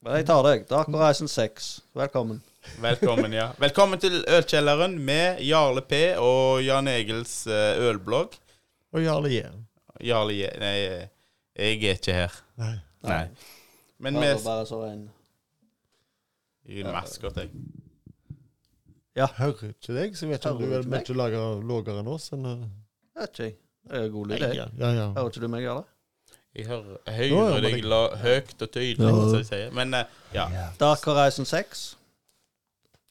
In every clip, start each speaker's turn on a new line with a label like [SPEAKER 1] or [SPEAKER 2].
[SPEAKER 1] Men jeg tar deg. Dark Horizon 6. Velkommen.
[SPEAKER 2] Velkommen, ja. Velkommen til Ølkjelleren med Jarle P. og Jan Egils eh, ølblogg.
[SPEAKER 3] Og Jarle J.
[SPEAKER 2] Jarle Je- Nei, jeg er ikke her.
[SPEAKER 3] Nei.
[SPEAKER 2] Nei. Men
[SPEAKER 1] Bare,
[SPEAKER 2] vi
[SPEAKER 1] bare så en
[SPEAKER 2] Jeg er maskot, jeg.
[SPEAKER 3] Hører ikke deg, så jeg vet ikke om du
[SPEAKER 1] Hører
[SPEAKER 3] er
[SPEAKER 1] ikke meg?
[SPEAKER 3] mye lager- lavere enn oss. Enn, uh,
[SPEAKER 1] Vet ikke jeg. Det er god lyd, jeg.
[SPEAKER 3] ja, ja, ja.
[SPEAKER 1] Hører ikke du meg, Jarle?
[SPEAKER 2] Jeg hører,
[SPEAKER 3] Ja, ja,
[SPEAKER 2] hører deg
[SPEAKER 3] men-
[SPEAKER 2] la, høyt og tydelig,
[SPEAKER 3] Ja.
[SPEAKER 2] som de sier. Men eh, ja.
[SPEAKER 1] Dark Horizon 6.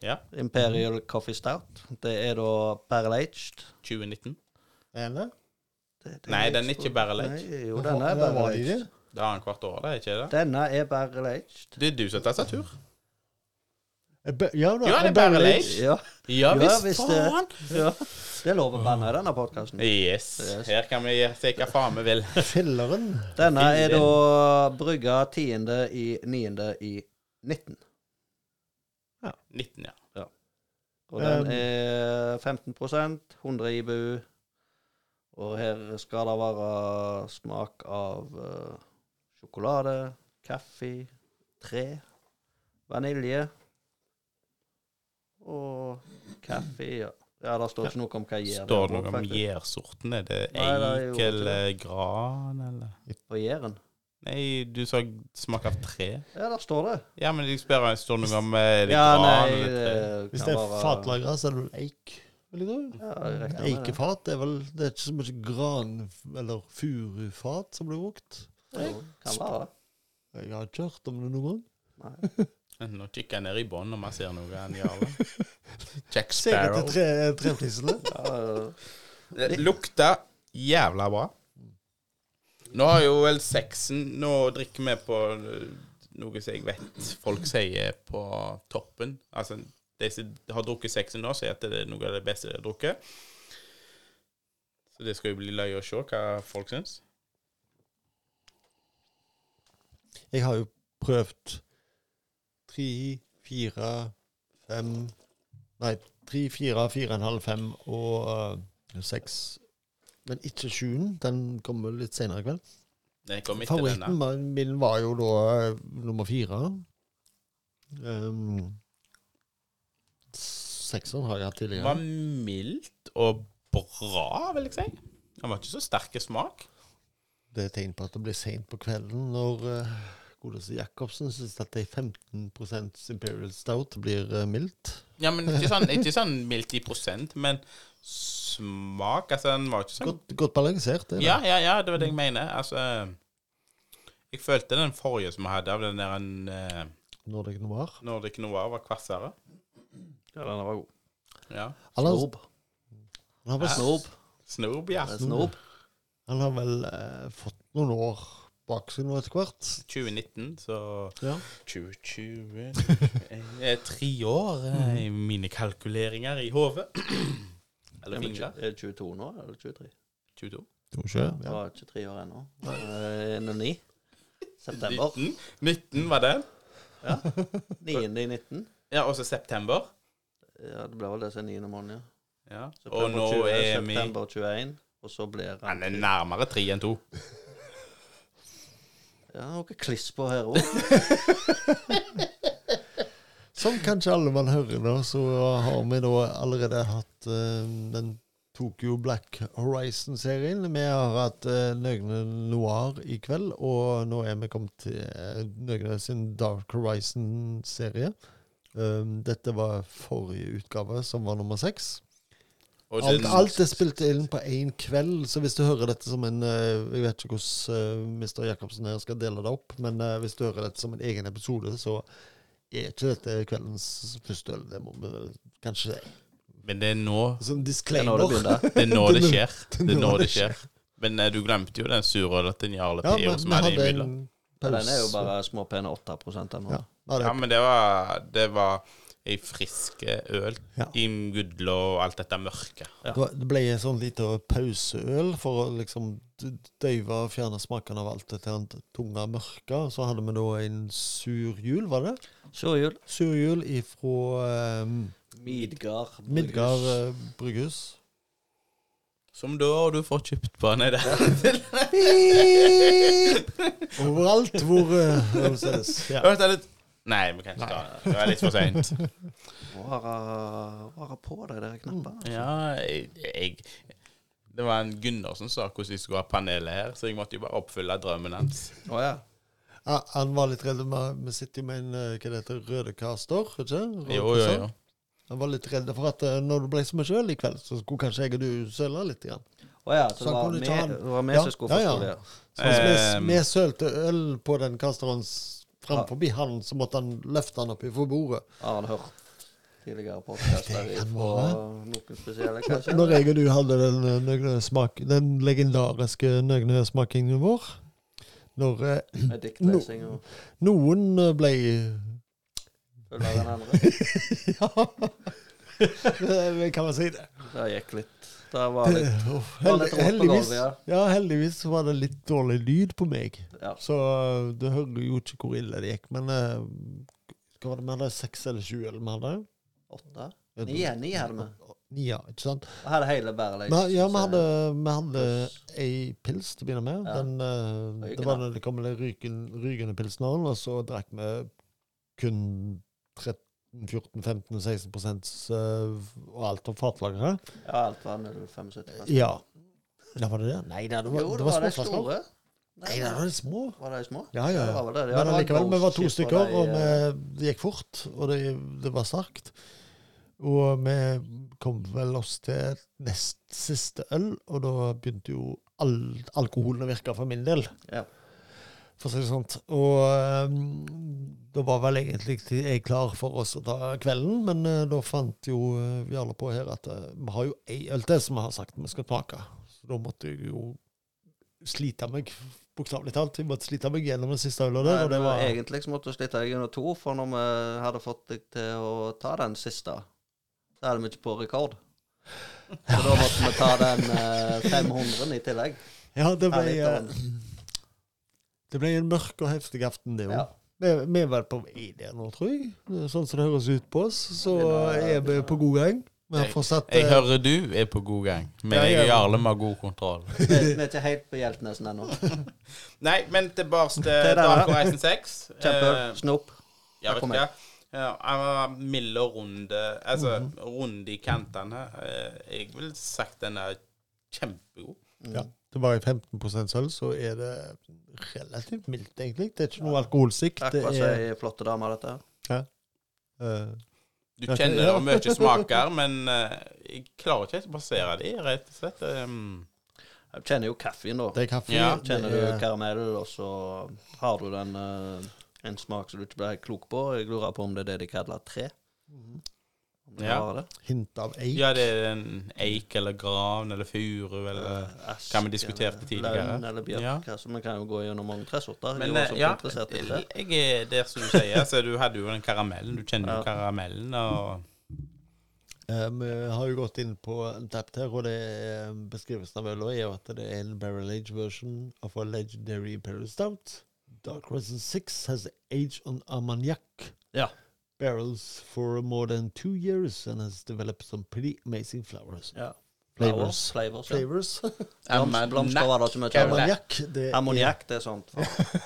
[SPEAKER 2] Ja.
[SPEAKER 1] Imperial Coffee Stout. Det er da barrel aged.
[SPEAKER 2] 2019.
[SPEAKER 3] Eller?
[SPEAKER 1] Det- det
[SPEAKER 2] Nei, den er ikke barrel aged.
[SPEAKER 1] Nei, Jo, denne er
[SPEAKER 3] Eller
[SPEAKER 1] barrel
[SPEAKER 3] var de
[SPEAKER 1] aged.
[SPEAKER 3] det?
[SPEAKER 2] Det har han hvert år, det, er ikke det?
[SPEAKER 1] Denne er barrel aged.
[SPEAKER 2] Det er du som tar seg tur.
[SPEAKER 3] Eh, ba- Ja, da,
[SPEAKER 2] Ja, det er
[SPEAKER 3] eh, barrel
[SPEAKER 2] barrel
[SPEAKER 3] aged.
[SPEAKER 2] aged.
[SPEAKER 1] Ja, Ja,
[SPEAKER 2] Ja visst,
[SPEAKER 1] visst det.
[SPEAKER 2] faen!
[SPEAKER 1] ja. Det er lov å banne i denne podkasten.
[SPEAKER 2] Yes.
[SPEAKER 1] Yes.
[SPEAKER 2] Her kan vi se hva faen vi vil.
[SPEAKER 3] Filleren.
[SPEAKER 1] Denne er da brygga 10. i 9. i 19.
[SPEAKER 2] 19, ja.
[SPEAKER 1] Og den
[SPEAKER 3] Um,
[SPEAKER 1] er 15 100 IBU. Og her skal det være smak av eh, sjokolade, kaffe, tre, vanilje og kaffe. Ja, ja det står ikke noe om hva gjær
[SPEAKER 2] Står
[SPEAKER 1] på,
[SPEAKER 2] det noe om
[SPEAKER 1] faktisk.
[SPEAKER 2] gjærsorten? Er det
[SPEAKER 1] Nei, det er jo
[SPEAKER 2] eik
[SPEAKER 1] ikke
[SPEAKER 2] eller gran, eller
[SPEAKER 1] På gjæren.
[SPEAKER 2] Nei, du sa smak av tre.
[SPEAKER 1] Ja, der står det.
[SPEAKER 2] Ja, men jeg spør om det står noe om eh, er det
[SPEAKER 1] Ja,
[SPEAKER 2] gran
[SPEAKER 1] nei,
[SPEAKER 2] eller
[SPEAKER 1] det
[SPEAKER 2] tre.
[SPEAKER 3] Hvis
[SPEAKER 1] kan
[SPEAKER 3] det er
[SPEAKER 1] være-
[SPEAKER 3] fatlagra, så er det vel eik. Vil jeg tro.
[SPEAKER 1] Ja, jeg regner med det.
[SPEAKER 3] Eikefat er vel Det er ikke så mye gran eller furufat som blir brukt.
[SPEAKER 1] Jo, Kan være det.
[SPEAKER 3] Jeg har ikke hørt om det noen gang.
[SPEAKER 1] Nei.
[SPEAKER 2] Eh, Nå kikker jeg ned i bånn om jeg ser noe enn Jarle. Jack
[SPEAKER 3] Ser etter
[SPEAKER 2] Sparrow.
[SPEAKER 3] tre, eh, treprisene.
[SPEAKER 1] Ja,
[SPEAKER 2] Det lukter jævla bra. Nå har jo vel sexen Nå drikker vi på eh, noe som jeg vet folk sier på toppen. Altså, de som har drukket sexen nå, sier at det er noe av det beste de har drukket. Så det skal jo bli løye å se hva folk syns.
[SPEAKER 3] Jeg har jo prøvd tre, fire, fem Nei, tre, fire, fire og en halv, fem og eh, seks. Men ikke sjuen. Den kommer litt senere i kveld.
[SPEAKER 2] Den kom etter
[SPEAKER 3] Favoritten
[SPEAKER 2] denne.
[SPEAKER 3] var- min var jo da eh, nummer fire. Um, Sekseren har jeg hatt
[SPEAKER 2] Den
[SPEAKER 3] tidligere.
[SPEAKER 2] var mildt og bra, vil jeg si. Den var ikke så sterk i smak.
[SPEAKER 3] Det er tegn på at det blir seint på kvelden når uh, godeste Jacobsen syns at ei 15 Imperial Stout blir eh, mildt.
[SPEAKER 2] Ja, men ikke sånn, ikke sånn mildt i prosent, men smak Altså, den var ikke sånn
[SPEAKER 3] Godt, godt balansert. det er det.
[SPEAKER 2] Ja, ja, ja, det var det jeg mener. Altså Jeg følte den forrige som jeg hadde, av den der en eh,
[SPEAKER 3] Nordic Noir.
[SPEAKER 2] Nordic Noir, var kvassere.
[SPEAKER 1] ja, den var god.
[SPEAKER 2] Ja.
[SPEAKER 3] Han har,
[SPEAKER 1] Snob.
[SPEAKER 3] han har vel,
[SPEAKER 1] Snob.
[SPEAKER 2] Snob, ja.
[SPEAKER 1] Snob.
[SPEAKER 3] han har vel eh, fått noen år bak seg nå etter hvert.
[SPEAKER 2] 2019, så
[SPEAKER 3] Ja.
[SPEAKER 2] 2020 eh, Tre år eh, i mine kalkuleringer i hodet. Eller fingre.
[SPEAKER 1] Er det 22 nå, eller 23?
[SPEAKER 2] 22.
[SPEAKER 1] Jeg
[SPEAKER 3] Ja.
[SPEAKER 1] var 23 år ennå. Eh, 09. September.
[SPEAKER 2] 19, 19 var det.
[SPEAKER 1] 9. i 19.
[SPEAKER 2] Ja, og så september.
[SPEAKER 1] Ja, det ble vel det som er 9. måned, ja.
[SPEAKER 2] Ja. Og
[SPEAKER 1] September
[SPEAKER 2] nå
[SPEAKER 1] 20,
[SPEAKER 2] er vi
[SPEAKER 1] September 21, og så blir
[SPEAKER 2] Han
[SPEAKER 1] han
[SPEAKER 2] er nærmere tre enn to.
[SPEAKER 1] Ja, noe kliss på her òg.
[SPEAKER 3] Som kanskje alle man hører nå, så har vi da allerede hatt eh, den Tokyo Black Horizon-serien. Vi har hatt uh, Nøgne Noir i kveld, og nå er vi kommet til eh, Nøgne sin Dark Horizon-serie. Um, dette var forrige utgave, som var nummer seks.
[SPEAKER 2] Og liksom-
[SPEAKER 3] Alt,
[SPEAKER 2] den-
[SPEAKER 3] alt er spilt inn på én kveld, så hvis du hører dette som en eh, Jeg vet ikke hvordan eh, Mr. Jacobsen her skal dele det opp, men eh, hvis du hører dette som en egen episode, så er ikke dette kveldens første øl. Det må vi vel kanskje si.
[SPEAKER 2] Men det er nå
[SPEAKER 3] Som
[SPEAKER 1] Det er nå
[SPEAKER 3] disclaimer.
[SPEAKER 1] det begynner.
[SPEAKER 2] Det er nå det
[SPEAKER 3] Det er nå-
[SPEAKER 2] skjer.
[SPEAKER 3] er
[SPEAKER 2] Det er nå
[SPEAKER 3] nå
[SPEAKER 2] det
[SPEAKER 3] det
[SPEAKER 2] skjer. Men eh, du glemte jo den surrødleten Jarle
[SPEAKER 3] Ja,
[SPEAKER 2] P.O.
[SPEAKER 3] men
[SPEAKER 2] som
[SPEAKER 3] vi
[SPEAKER 2] hadde
[SPEAKER 3] hadde
[SPEAKER 2] imidler.
[SPEAKER 3] en pause.
[SPEAKER 1] Den er jo bare små pene 8 ennå.
[SPEAKER 3] ja, vi hadde-
[SPEAKER 2] Ja, men det var Det var ei frisk øl
[SPEAKER 3] Ja.
[SPEAKER 2] imidler og alt dette mørket.
[SPEAKER 1] ja.
[SPEAKER 3] Det var- Det ble en sånn lite pauseøl for å liksom d- døyve og fjerne smaken av alt dette her tunge mørket. Så hadde vi da en sur jul, var det?
[SPEAKER 1] Surjul.
[SPEAKER 3] Surjul ifra
[SPEAKER 2] ehm,
[SPEAKER 3] um,
[SPEAKER 1] Midgard.
[SPEAKER 3] Midgard eh, Brygghus.
[SPEAKER 2] Som da du får kjøpt på Nei, det
[SPEAKER 3] Beep! Overalt hvor eh, øl selges. Ja.
[SPEAKER 2] Hørte jeg litt Nei, vi kan ikke ta det. Det er litt for seint.
[SPEAKER 1] Vare, vare på deg, dere knapper.
[SPEAKER 2] Ja, jeg, jeg Det var en Gundersen som sa hvordan vi skulle ha panelet her, så jeg måtte jo bare oppfylle drømmen hans.
[SPEAKER 1] Å
[SPEAKER 3] Mm.
[SPEAKER 1] ja.
[SPEAKER 3] Ja, han var litt redd med- Vi sitter jo med en eh, hva det heter, røde kaster, ikke
[SPEAKER 2] Jo,
[SPEAKER 3] Røde
[SPEAKER 2] jo,
[SPEAKER 3] kaster.
[SPEAKER 2] jo.
[SPEAKER 3] Han var litt redd for at eh, når du ble som en sjøl i kveld, så skulle kanskje jeg og du søle litt. Igjen.
[SPEAKER 1] Å ja, så
[SPEAKER 3] Så
[SPEAKER 1] det
[SPEAKER 3] han
[SPEAKER 1] var
[SPEAKER 3] kunne
[SPEAKER 1] vi-
[SPEAKER 3] ta han.
[SPEAKER 1] det var vi
[SPEAKER 3] Ja,
[SPEAKER 1] som skulle
[SPEAKER 3] ja, ja.
[SPEAKER 1] forstå det.
[SPEAKER 3] Så hvis
[SPEAKER 2] Eh,
[SPEAKER 3] vi, vi sølte øl på den kasteren s- fram forbi han, så måtte han løfte han opp ifra bordet.
[SPEAKER 1] Har han hørt tidligere podkaster
[SPEAKER 3] Det kan
[SPEAKER 1] fra noen spesielle, kanskje?
[SPEAKER 3] Når jeg og du hadde den, eh, nøgnesmak, den legendariske nøgnesmakingen vår Når eh,
[SPEAKER 1] Med diktlesing og
[SPEAKER 3] noen eh, ble
[SPEAKER 1] følge den andre.
[SPEAKER 3] Ja, kan man si det?
[SPEAKER 1] Det gikk litt. Det var litt,
[SPEAKER 3] Uff,
[SPEAKER 1] det var litt rått
[SPEAKER 3] heldig-
[SPEAKER 1] på
[SPEAKER 3] heldigvis,
[SPEAKER 1] gulvet, ja.
[SPEAKER 3] ja, heldigvis så var det litt dårlig lyd på meg.
[SPEAKER 1] ja.
[SPEAKER 3] Så eh, du hører jo ikke hvor ille det gikk. Men eh, hva var det vi hadde? Seks eller sju eller vi hadde?
[SPEAKER 1] Åtte? Ni, ni hadde vi.
[SPEAKER 3] Ni, ja, ikke sant?
[SPEAKER 1] Vi hadde hele liksom. bæret.
[SPEAKER 3] Men, ja, vi hadde, vi hadde ei pils til å begynne med.
[SPEAKER 1] Ja.
[SPEAKER 3] Den, eh,
[SPEAKER 1] Ryggen,
[SPEAKER 3] det var
[SPEAKER 1] da.
[SPEAKER 3] når det kom den ryken, rygende pilsneren, og så drakk vi kun 13-14-15-16 eh, og alt om fatlageret.
[SPEAKER 1] Ja, alt var 0,75.
[SPEAKER 3] Altså, Ja. Da var det det? Nei da, det var,
[SPEAKER 1] Jo,
[SPEAKER 3] det var
[SPEAKER 1] de
[SPEAKER 3] småflasker.
[SPEAKER 1] store.
[SPEAKER 3] Nei, da, det var de små.
[SPEAKER 1] Var det de små?
[SPEAKER 3] Ja, ja,
[SPEAKER 1] Det
[SPEAKER 3] ja.
[SPEAKER 1] var vel det. Ja,
[SPEAKER 3] Men
[SPEAKER 1] det var
[SPEAKER 3] allikevel, vi var to
[SPEAKER 1] bullshit på de,
[SPEAKER 3] stykker, og
[SPEAKER 1] eh,
[SPEAKER 3] vi, det gikk fort. Og det, det var sterkt. Og vi kom vel oss til nest siste øl, og da begynte jo all, alkoholen å virke for min del.
[SPEAKER 1] Ja.
[SPEAKER 3] For å si det sånn. Og ehm, da var vel egentlig ikke jeg klar for oss å ta kvelden, men eh, da fant jo eh, Jarle på her at eh, vi har jo ei øl til som vi har sagt vi skal smake. Så da måtte jeg jo slite meg, bokstavelig talt. Jeg måtte slite meg gjennom den siste øla der.
[SPEAKER 1] Nei,
[SPEAKER 3] Og det var
[SPEAKER 1] Egentlig så måtte du slite deg gjennom to, for når vi hadde fått deg til å ta den siste, så hadde vi ikke på rekord. Så da måtte vi ta den eh, 500-en i tillegg.
[SPEAKER 3] Ja, det
[SPEAKER 1] Ja,
[SPEAKER 3] ble,
[SPEAKER 1] litt av
[SPEAKER 3] eh, det ble en mørk og heftig aften, det òg.
[SPEAKER 1] Ja.
[SPEAKER 3] Vi, vi er vel på vei der nå, tror jeg. Sånn som det høres ut på oss, så
[SPEAKER 1] Ja,
[SPEAKER 3] er vi på god gang. Vi har fortsatt
[SPEAKER 2] Jeg
[SPEAKER 3] eh,
[SPEAKER 2] hører du er på god gang, men jeg og Jarle må ha god kontroll.
[SPEAKER 1] Vi, vi er ikke helt på Hjeltnesen ennå.
[SPEAKER 2] Nei, men tilbake til
[SPEAKER 1] der, da.
[SPEAKER 2] Dark Horizon 6.
[SPEAKER 1] Kjempeøl.
[SPEAKER 2] Eh,
[SPEAKER 1] Snop.
[SPEAKER 2] Ja,
[SPEAKER 1] Her
[SPEAKER 2] vet du
[SPEAKER 1] kommer
[SPEAKER 2] hva. Ja, Han var mild og runde Altså runde i kantene. Eh, Jeg ville sagt den er kjempegod.
[SPEAKER 3] ja, Det var i 15 sølv, så er det relativt mildt, egentlig. Det er ikke noe alkoholsikt. Det
[SPEAKER 1] Akkurat som
[SPEAKER 3] er
[SPEAKER 1] ei flotte dame, dette.
[SPEAKER 3] eh,
[SPEAKER 2] Du
[SPEAKER 3] Ja,
[SPEAKER 2] kjenner det
[SPEAKER 3] ja.
[SPEAKER 2] er mye smaker, men eh, jeg klarer ikke helt å plassere de, rett og slett. Um,
[SPEAKER 1] Jeg kjenner jo kaffen, da.
[SPEAKER 3] Det er kaffe.
[SPEAKER 2] Ja,
[SPEAKER 3] det
[SPEAKER 1] Kjenner du
[SPEAKER 3] er-
[SPEAKER 1] karamell, og så har du den eh, en smak som du ikke ble helt klok på. Jeg lurer på om det er det de kaller tre.
[SPEAKER 3] Mhm.
[SPEAKER 1] Om det
[SPEAKER 2] Ja.
[SPEAKER 1] var det.
[SPEAKER 3] hint av eik.
[SPEAKER 2] Ja, det er en eik eller gran eller furu eller eh,
[SPEAKER 1] Ask,
[SPEAKER 2] Hva vi diskuterte
[SPEAKER 1] eller
[SPEAKER 2] tidligere.
[SPEAKER 1] Lønn eller bjørk.
[SPEAKER 2] Ja.
[SPEAKER 1] Altså, vi kan jo gå gjennom mange tresorter.
[SPEAKER 2] Men
[SPEAKER 1] Men,
[SPEAKER 2] eh, ja,
[SPEAKER 1] interessert i tre.
[SPEAKER 2] jeg er der som du sier. Så du hadde jo den karamellen. Du kjenner
[SPEAKER 1] Ja.
[SPEAKER 2] jo karamellen og
[SPEAKER 3] Eh, Vi har jo gått inn på Untapped her, og det er eh, beskrivelsen av øla er jo at det er en barrel age version of a legendary imperial stout. Dark Resin 6 has aged on Armagnac
[SPEAKER 1] Ja.
[SPEAKER 3] barrels for more than two years and has developed some pretty amazing flowers.
[SPEAKER 1] Ja.
[SPEAKER 3] Flavors.
[SPEAKER 1] Flavors, ja.
[SPEAKER 3] Flavors.
[SPEAKER 1] Blomst, blomster var det ikke mye av.
[SPEAKER 3] Armagnac, det er
[SPEAKER 1] Ammoniakk, det er sånt.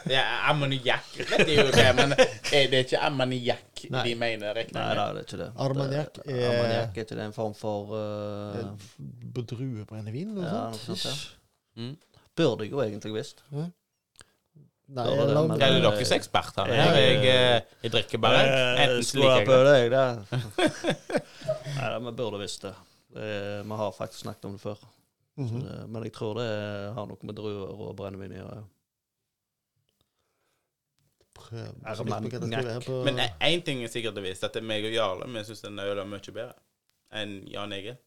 [SPEAKER 2] Ja, ammoniakk vet jeg jo hva, men er det ikke ammoniakk
[SPEAKER 3] Nei.
[SPEAKER 2] de mener? regner
[SPEAKER 1] Nei
[SPEAKER 2] jeg med?
[SPEAKER 1] da, det er ikke det.
[SPEAKER 3] Armagnac eh,
[SPEAKER 1] Det-
[SPEAKER 3] er-
[SPEAKER 1] Armagnac er ikke det en form for eh,
[SPEAKER 3] på druebrennevin og
[SPEAKER 1] Ja, noe
[SPEAKER 3] sånt.
[SPEAKER 1] sånt, ja.
[SPEAKER 3] Ish.
[SPEAKER 2] Mm.
[SPEAKER 1] Burde jeg jo egentlig visst.
[SPEAKER 3] Nei,
[SPEAKER 1] Burde det,
[SPEAKER 3] eller-
[SPEAKER 1] men-
[SPEAKER 2] Ja, det er dere som er eksperter her. Jeg, eh, jeg drikker bare.
[SPEAKER 1] Eh,
[SPEAKER 2] Enten så liker jeg det.
[SPEAKER 1] det, jeg, det. Nei, da, vi burde visst det. det. er- Vi har faktisk snakket om det før. Så
[SPEAKER 3] Mhm.
[SPEAKER 1] det- Men jeg tror det har noe med druer og brennevin å gjøre.
[SPEAKER 3] Prøv.
[SPEAKER 1] Armagnac.
[SPEAKER 3] Skal jeg skrive her på-
[SPEAKER 2] Men
[SPEAKER 1] eh,
[SPEAKER 2] én ting er sikkert å vise, at det er meg og Jarle vi syns den ølen er mye bedre enn Jan Egil.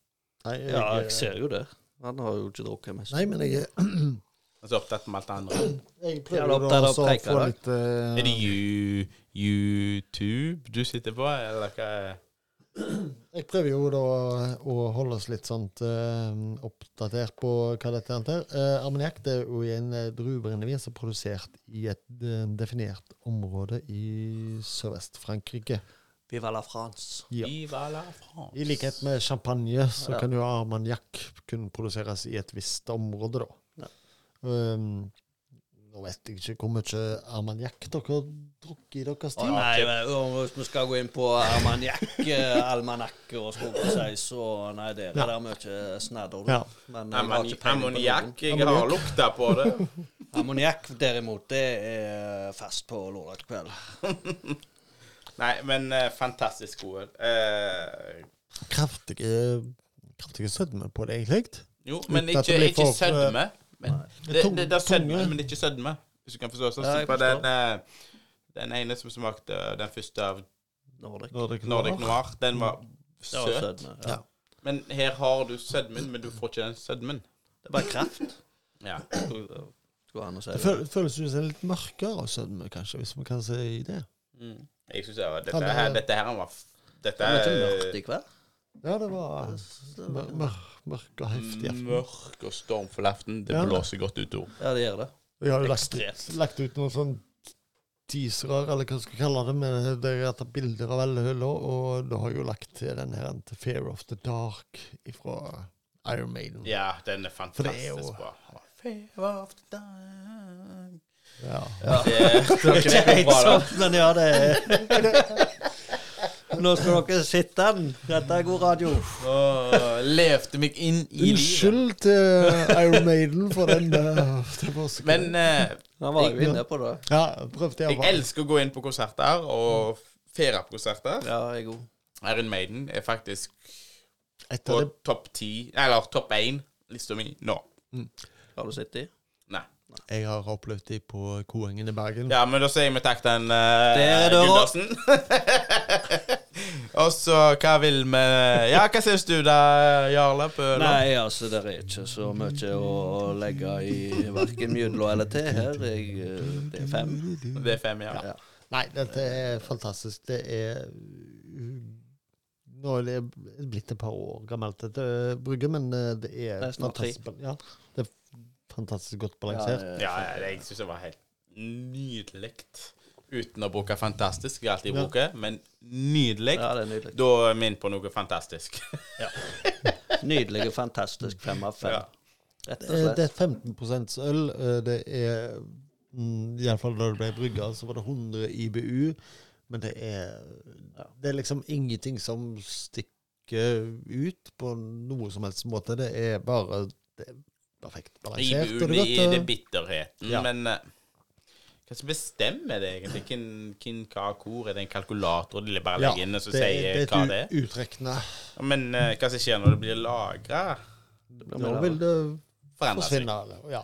[SPEAKER 3] Nei,
[SPEAKER 1] Ja, jeg ser jo det. Han har jo ikke drukket mest.
[SPEAKER 3] Nei, men jeg
[SPEAKER 2] Han er så opptatt med alt det andre.
[SPEAKER 3] Jeg
[SPEAKER 1] Ja,
[SPEAKER 3] prøver
[SPEAKER 1] da
[SPEAKER 3] da
[SPEAKER 1] oppdager
[SPEAKER 3] også å
[SPEAKER 1] preika,
[SPEAKER 3] få
[SPEAKER 1] da.
[SPEAKER 3] litt eh,
[SPEAKER 2] Er det you, YouTube du sitter på, eller hva? er-
[SPEAKER 3] Jeg prøver jo da å holde oss litt sånn eh, oppdatert på hva dette er. her. Eh, Armoniakk det er jo en eh, druebrennevin som er produsert i et eh, definert område i Sørvest-Frankrike.
[SPEAKER 1] Viva la France.
[SPEAKER 3] Ja.
[SPEAKER 2] Viva la France.
[SPEAKER 3] I likhet med champagne, så
[SPEAKER 1] Ja.
[SPEAKER 3] kan jo armagnac kun produseres i et visst område, da.
[SPEAKER 1] Ja.
[SPEAKER 3] Um, Nå vet jeg ikke hvor mye armagnac dere har drukket i deres
[SPEAKER 1] Å,
[SPEAKER 3] tid.
[SPEAKER 1] nei, men, og hvis vi skal gå inn på armagnac, eh, almanakker og skogseis, så nei, det er det der mye snadder. du.
[SPEAKER 3] Ja.
[SPEAKER 1] Men eh, jeg har ikke peiling på
[SPEAKER 2] Ammoniakk.
[SPEAKER 1] noen.
[SPEAKER 2] Jeg har lukta på det.
[SPEAKER 1] Ammoniakk derimot, det er fast på lørdag kveld.
[SPEAKER 2] Nei, men eh, fantastisk gode. Eh,
[SPEAKER 3] Kraftige, kraftige sødme på det, egentlig.
[SPEAKER 2] jo, men
[SPEAKER 3] Dette
[SPEAKER 2] ikke,
[SPEAKER 3] blir
[SPEAKER 2] ikke
[SPEAKER 3] for-
[SPEAKER 2] sødme. Men, det,
[SPEAKER 3] Tung-
[SPEAKER 2] det, det er sødme,
[SPEAKER 3] tunge.
[SPEAKER 2] men ikke sødme. Hvis du kan forstå. Sånn
[SPEAKER 1] Ja,
[SPEAKER 2] som
[SPEAKER 1] jeg
[SPEAKER 2] på
[SPEAKER 1] forstår.
[SPEAKER 2] den, eh, den ene som smakte eh, den første av
[SPEAKER 1] Nordic.
[SPEAKER 2] Nordic Noir, den var
[SPEAKER 1] Det var
[SPEAKER 2] søt.
[SPEAKER 1] sødme.
[SPEAKER 3] Ja.
[SPEAKER 1] Ja.
[SPEAKER 2] Men her har du sødmen, men du får ikke den sødmen.
[SPEAKER 1] Det er bare kraft.
[SPEAKER 2] Ja.
[SPEAKER 1] Går an å si
[SPEAKER 3] Det
[SPEAKER 1] det.
[SPEAKER 3] føl, føles jo som en litt mørkere sødme, kanskje, hvis man kan si det.
[SPEAKER 2] Mm. Jeg synes det var
[SPEAKER 3] Ja,
[SPEAKER 2] dette
[SPEAKER 3] det-
[SPEAKER 2] her, dette her var f- Dette
[SPEAKER 1] Det er mye
[SPEAKER 2] er
[SPEAKER 1] mørkt i kveld.
[SPEAKER 3] Ja, det var mør, mør, mørk og heftig.
[SPEAKER 2] Mm, mørk og stormfull aften. Det
[SPEAKER 3] Ja.
[SPEAKER 2] blåser godt utover.
[SPEAKER 1] Ja, det gjør det.
[SPEAKER 3] Vi har jo lagt,
[SPEAKER 1] Ekstremt.
[SPEAKER 3] lagt ut noen sånn teaserer, eller hva skal jeg kalle det, med der jeg tar bilder av alle huller, og da har jeg jo lagt til den her en til Fear of the Dark fra Iron Maiden.
[SPEAKER 2] Ja, den er
[SPEAKER 3] For det er jo-
[SPEAKER 2] fantastisk bra. Fever of the dark.
[SPEAKER 3] Ja.
[SPEAKER 1] Det er ikke helt
[SPEAKER 2] bra, da.
[SPEAKER 1] sånn, men ja, det er Nå skal dere sitte den. Dette er god radio.
[SPEAKER 2] Åh, levde meg inn i livet.
[SPEAKER 3] Unnskyld til Iron Maiden for den eh, det var så-
[SPEAKER 2] Men eh,
[SPEAKER 1] Han var jo inne på det.
[SPEAKER 3] Ja, prøvde jeg
[SPEAKER 2] jeg elsker å gå inn på konserter og feire på konserter.
[SPEAKER 1] Ja, jeg er god.
[SPEAKER 2] Iron Maiden er faktisk på
[SPEAKER 3] Etter det
[SPEAKER 2] topp ti, eller topp én, lista mi nå.
[SPEAKER 1] Har du sittet i?
[SPEAKER 2] Nei.
[SPEAKER 3] jeg har opplevd de på Koengen i Bergen.
[SPEAKER 2] Ja, men da sier vi takk til den
[SPEAKER 1] Der er
[SPEAKER 2] eh,
[SPEAKER 1] døra.
[SPEAKER 2] Gundersen. Og så, hva vil vi Ja, hva syns du da, Jarle? På,
[SPEAKER 1] Nei, altså, det er ikke så mye å legge i verken mjødla eller te her. Jeg, eh, det er fem.
[SPEAKER 2] Det er fem, ja.
[SPEAKER 1] Ja.
[SPEAKER 3] Nei, dette er fantastisk. Det er Nå er det blitt et par år gammelt, dette brygget, men eh, det er
[SPEAKER 1] Det er snart tre.
[SPEAKER 3] fantastisk, ja, det er fantastisk godt
[SPEAKER 1] det
[SPEAKER 3] balansert.
[SPEAKER 1] er
[SPEAKER 2] Ja,
[SPEAKER 1] fem.
[SPEAKER 2] ja, det- jeg syns det var helt nydelig. Uten å bruke 'fantastisk', jeg alltid bruker, men nydelig.
[SPEAKER 1] Ja, det er nydelig.
[SPEAKER 2] Da er vi inne på noe fantastisk.
[SPEAKER 1] Nydelig, fantastisk fem av fem.
[SPEAKER 2] Ja.
[SPEAKER 1] Rett og
[SPEAKER 3] Eh,
[SPEAKER 1] slett.
[SPEAKER 3] Det er 15 øl. eh, Det er mm, Iallfall da det ble brygga, så var det 100 IBU. Men det er, det er liksom ingenting som stikker ut på noe som helst måte. Det er bare det er perfekt balansert. og
[SPEAKER 2] IBU
[SPEAKER 3] det er
[SPEAKER 2] i
[SPEAKER 3] godt, eh,
[SPEAKER 2] det bitterheten,
[SPEAKER 3] Ja.
[SPEAKER 2] men eh, hva som bestemmer det egentlig? Hvem, hvem hva hvor? Er det en kalkulator de bare legger inn og så
[SPEAKER 3] det er-
[SPEAKER 2] sier
[SPEAKER 3] det er
[SPEAKER 2] hva
[SPEAKER 3] et
[SPEAKER 2] det er?
[SPEAKER 3] u- utrekne.
[SPEAKER 2] Men eh, hva som skjer når det blir lagra?
[SPEAKER 1] blir
[SPEAKER 3] Nå
[SPEAKER 1] mer
[SPEAKER 3] vil det
[SPEAKER 2] Forandrer seg.
[SPEAKER 3] forsvinne. Eller, ja.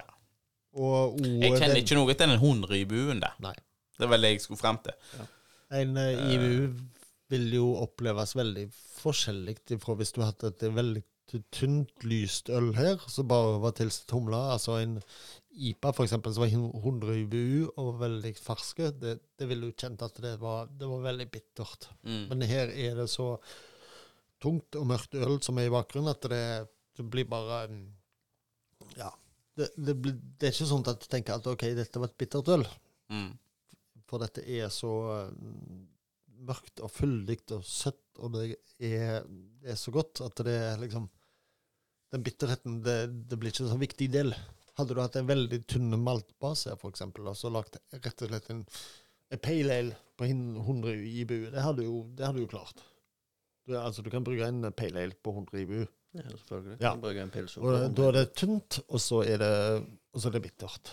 [SPEAKER 3] Og, og
[SPEAKER 2] Jeg kjenner
[SPEAKER 3] den-
[SPEAKER 2] ikke noe til den 100 IBU-en der.
[SPEAKER 3] Nei.
[SPEAKER 2] Det var det jeg skulle fram til.
[SPEAKER 3] En eh, IBU vil jo oppleves veldig forskjellig ifra hvis du har hatt et veldig ty- tynt, lyst øl her, som bare var tilsatt humle. Altså en IPA, for eksempel, som var hin- 100 IBU og veldig ferske, det, det ville du kjent at det var, det var veldig bittert.
[SPEAKER 2] Mm.
[SPEAKER 3] Men her er det så tungt og mørkt øl som er i bakgrunnen, at det, det blir bare mm, Ja. Det, det, blir, det er ikke sånn at du tenker at OK, dette var et bittert øl.
[SPEAKER 2] Mm.
[SPEAKER 3] For dette er så mm, mørkt og fyldig og søtt, og det er, det er så godt at det er liksom Den bitterheten, det, det blir ikke en sånn viktig del. Hadde du hatt en veldig tynn maltbase her, for eksempel, og så lagt rett og slett en, en pale ale på hin- 100 IBU, det hadde jo, det hadde jo klart. Du, altså, du kan bruke en pale ale på 100 IBU.
[SPEAKER 1] Ja, selvfølgelig.
[SPEAKER 3] Ja.
[SPEAKER 1] Kan bruke en pils
[SPEAKER 3] Og det- da er det tynt, og så er det, og så er det bittert.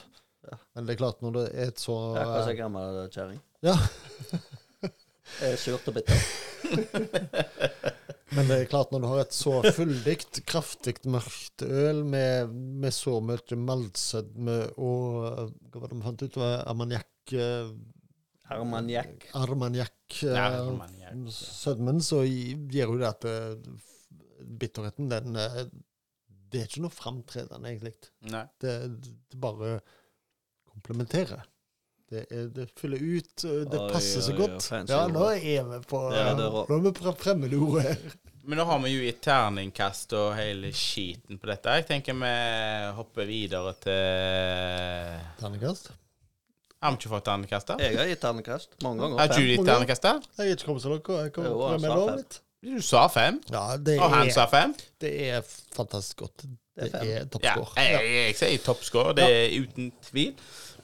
[SPEAKER 1] Ja.
[SPEAKER 3] Men det er klart, når det er et så
[SPEAKER 1] Ja, hva sier gammel kjerring?
[SPEAKER 3] eh, Ja.
[SPEAKER 1] Eh, Surt og bittert.
[SPEAKER 3] Men det er klart, når du har et så fyldig, kraftig mørkt øl med, med så mye maltsødme og eh, Hva var det vi fant ut? Det var Armagnac eh,
[SPEAKER 1] Armagnac.
[SPEAKER 3] Armagnac eh,
[SPEAKER 2] Ja, men jeg-
[SPEAKER 3] sødmen, så gi- gir jo det at eh, bitterheten, den eh, Det er ikke noe framtredende, egentlig.
[SPEAKER 2] Nei.
[SPEAKER 3] Det, det bare komplementerer. Det, er, det fyller ut, eh, det
[SPEAKER 1] Oi,
[SPEAKER 3] passer så
[SPEAKER 1] oi, oi,
[SPEAKER 3] godt.
[SPEAKER 1] fancy
[SPEAKER 3] ja,
[SPEAKER 1] ord.
[SPEAKER 3] nå er vi på
[SPEAKER 1] Ja, det er rå.
[SPEAKER 3] Nå er vi på fremmedordet her.
[SPEAKER 2] Men nå har vi jo i terningkast og hele skiten på dette. Jeg tenker vi hopper videre til Har
[SPEAKER 3] Terningkast?
[SPEAKER 2] vi ikke fått terningkast, da?
[SPEAKER 1] Jeg har gitt ternekast mange
[SPEAKER 2] Har
[SPEAKER 1] ganger.
[SPEAKER 2] ikke du gitt terningkast, da?
[SPEAKER 3] Jeg er ikke kommet så langt. Jeg kom
[SPEAKER 1] Jo,
[SPEAKER 3] frem
[SPEAKER 1] han
[SPEAKER 3] med
[SPEAKER 1] sa
[SPEAKER 3] lov
[SPEAKER 1] fem.
[SPEAKER 3] litt.
[SPEAKER 2] Du sa fem,
[SPEAKER 3] Ja, det
[SPEAKER 2] og han
[SPEAKER 3] er,
[SPEAKER 2] sa fem.
[SPEAKER 3] det er fantastisk godt.
[SPEAKER 1] fem. Det er fem.
[SPEAKER 3] er
[SPEAKER 2] Ja,
[SPEAKER 3] toppscore.
[SPEAKER 2] jeg, jeg sier toppscore, det er uten tvil.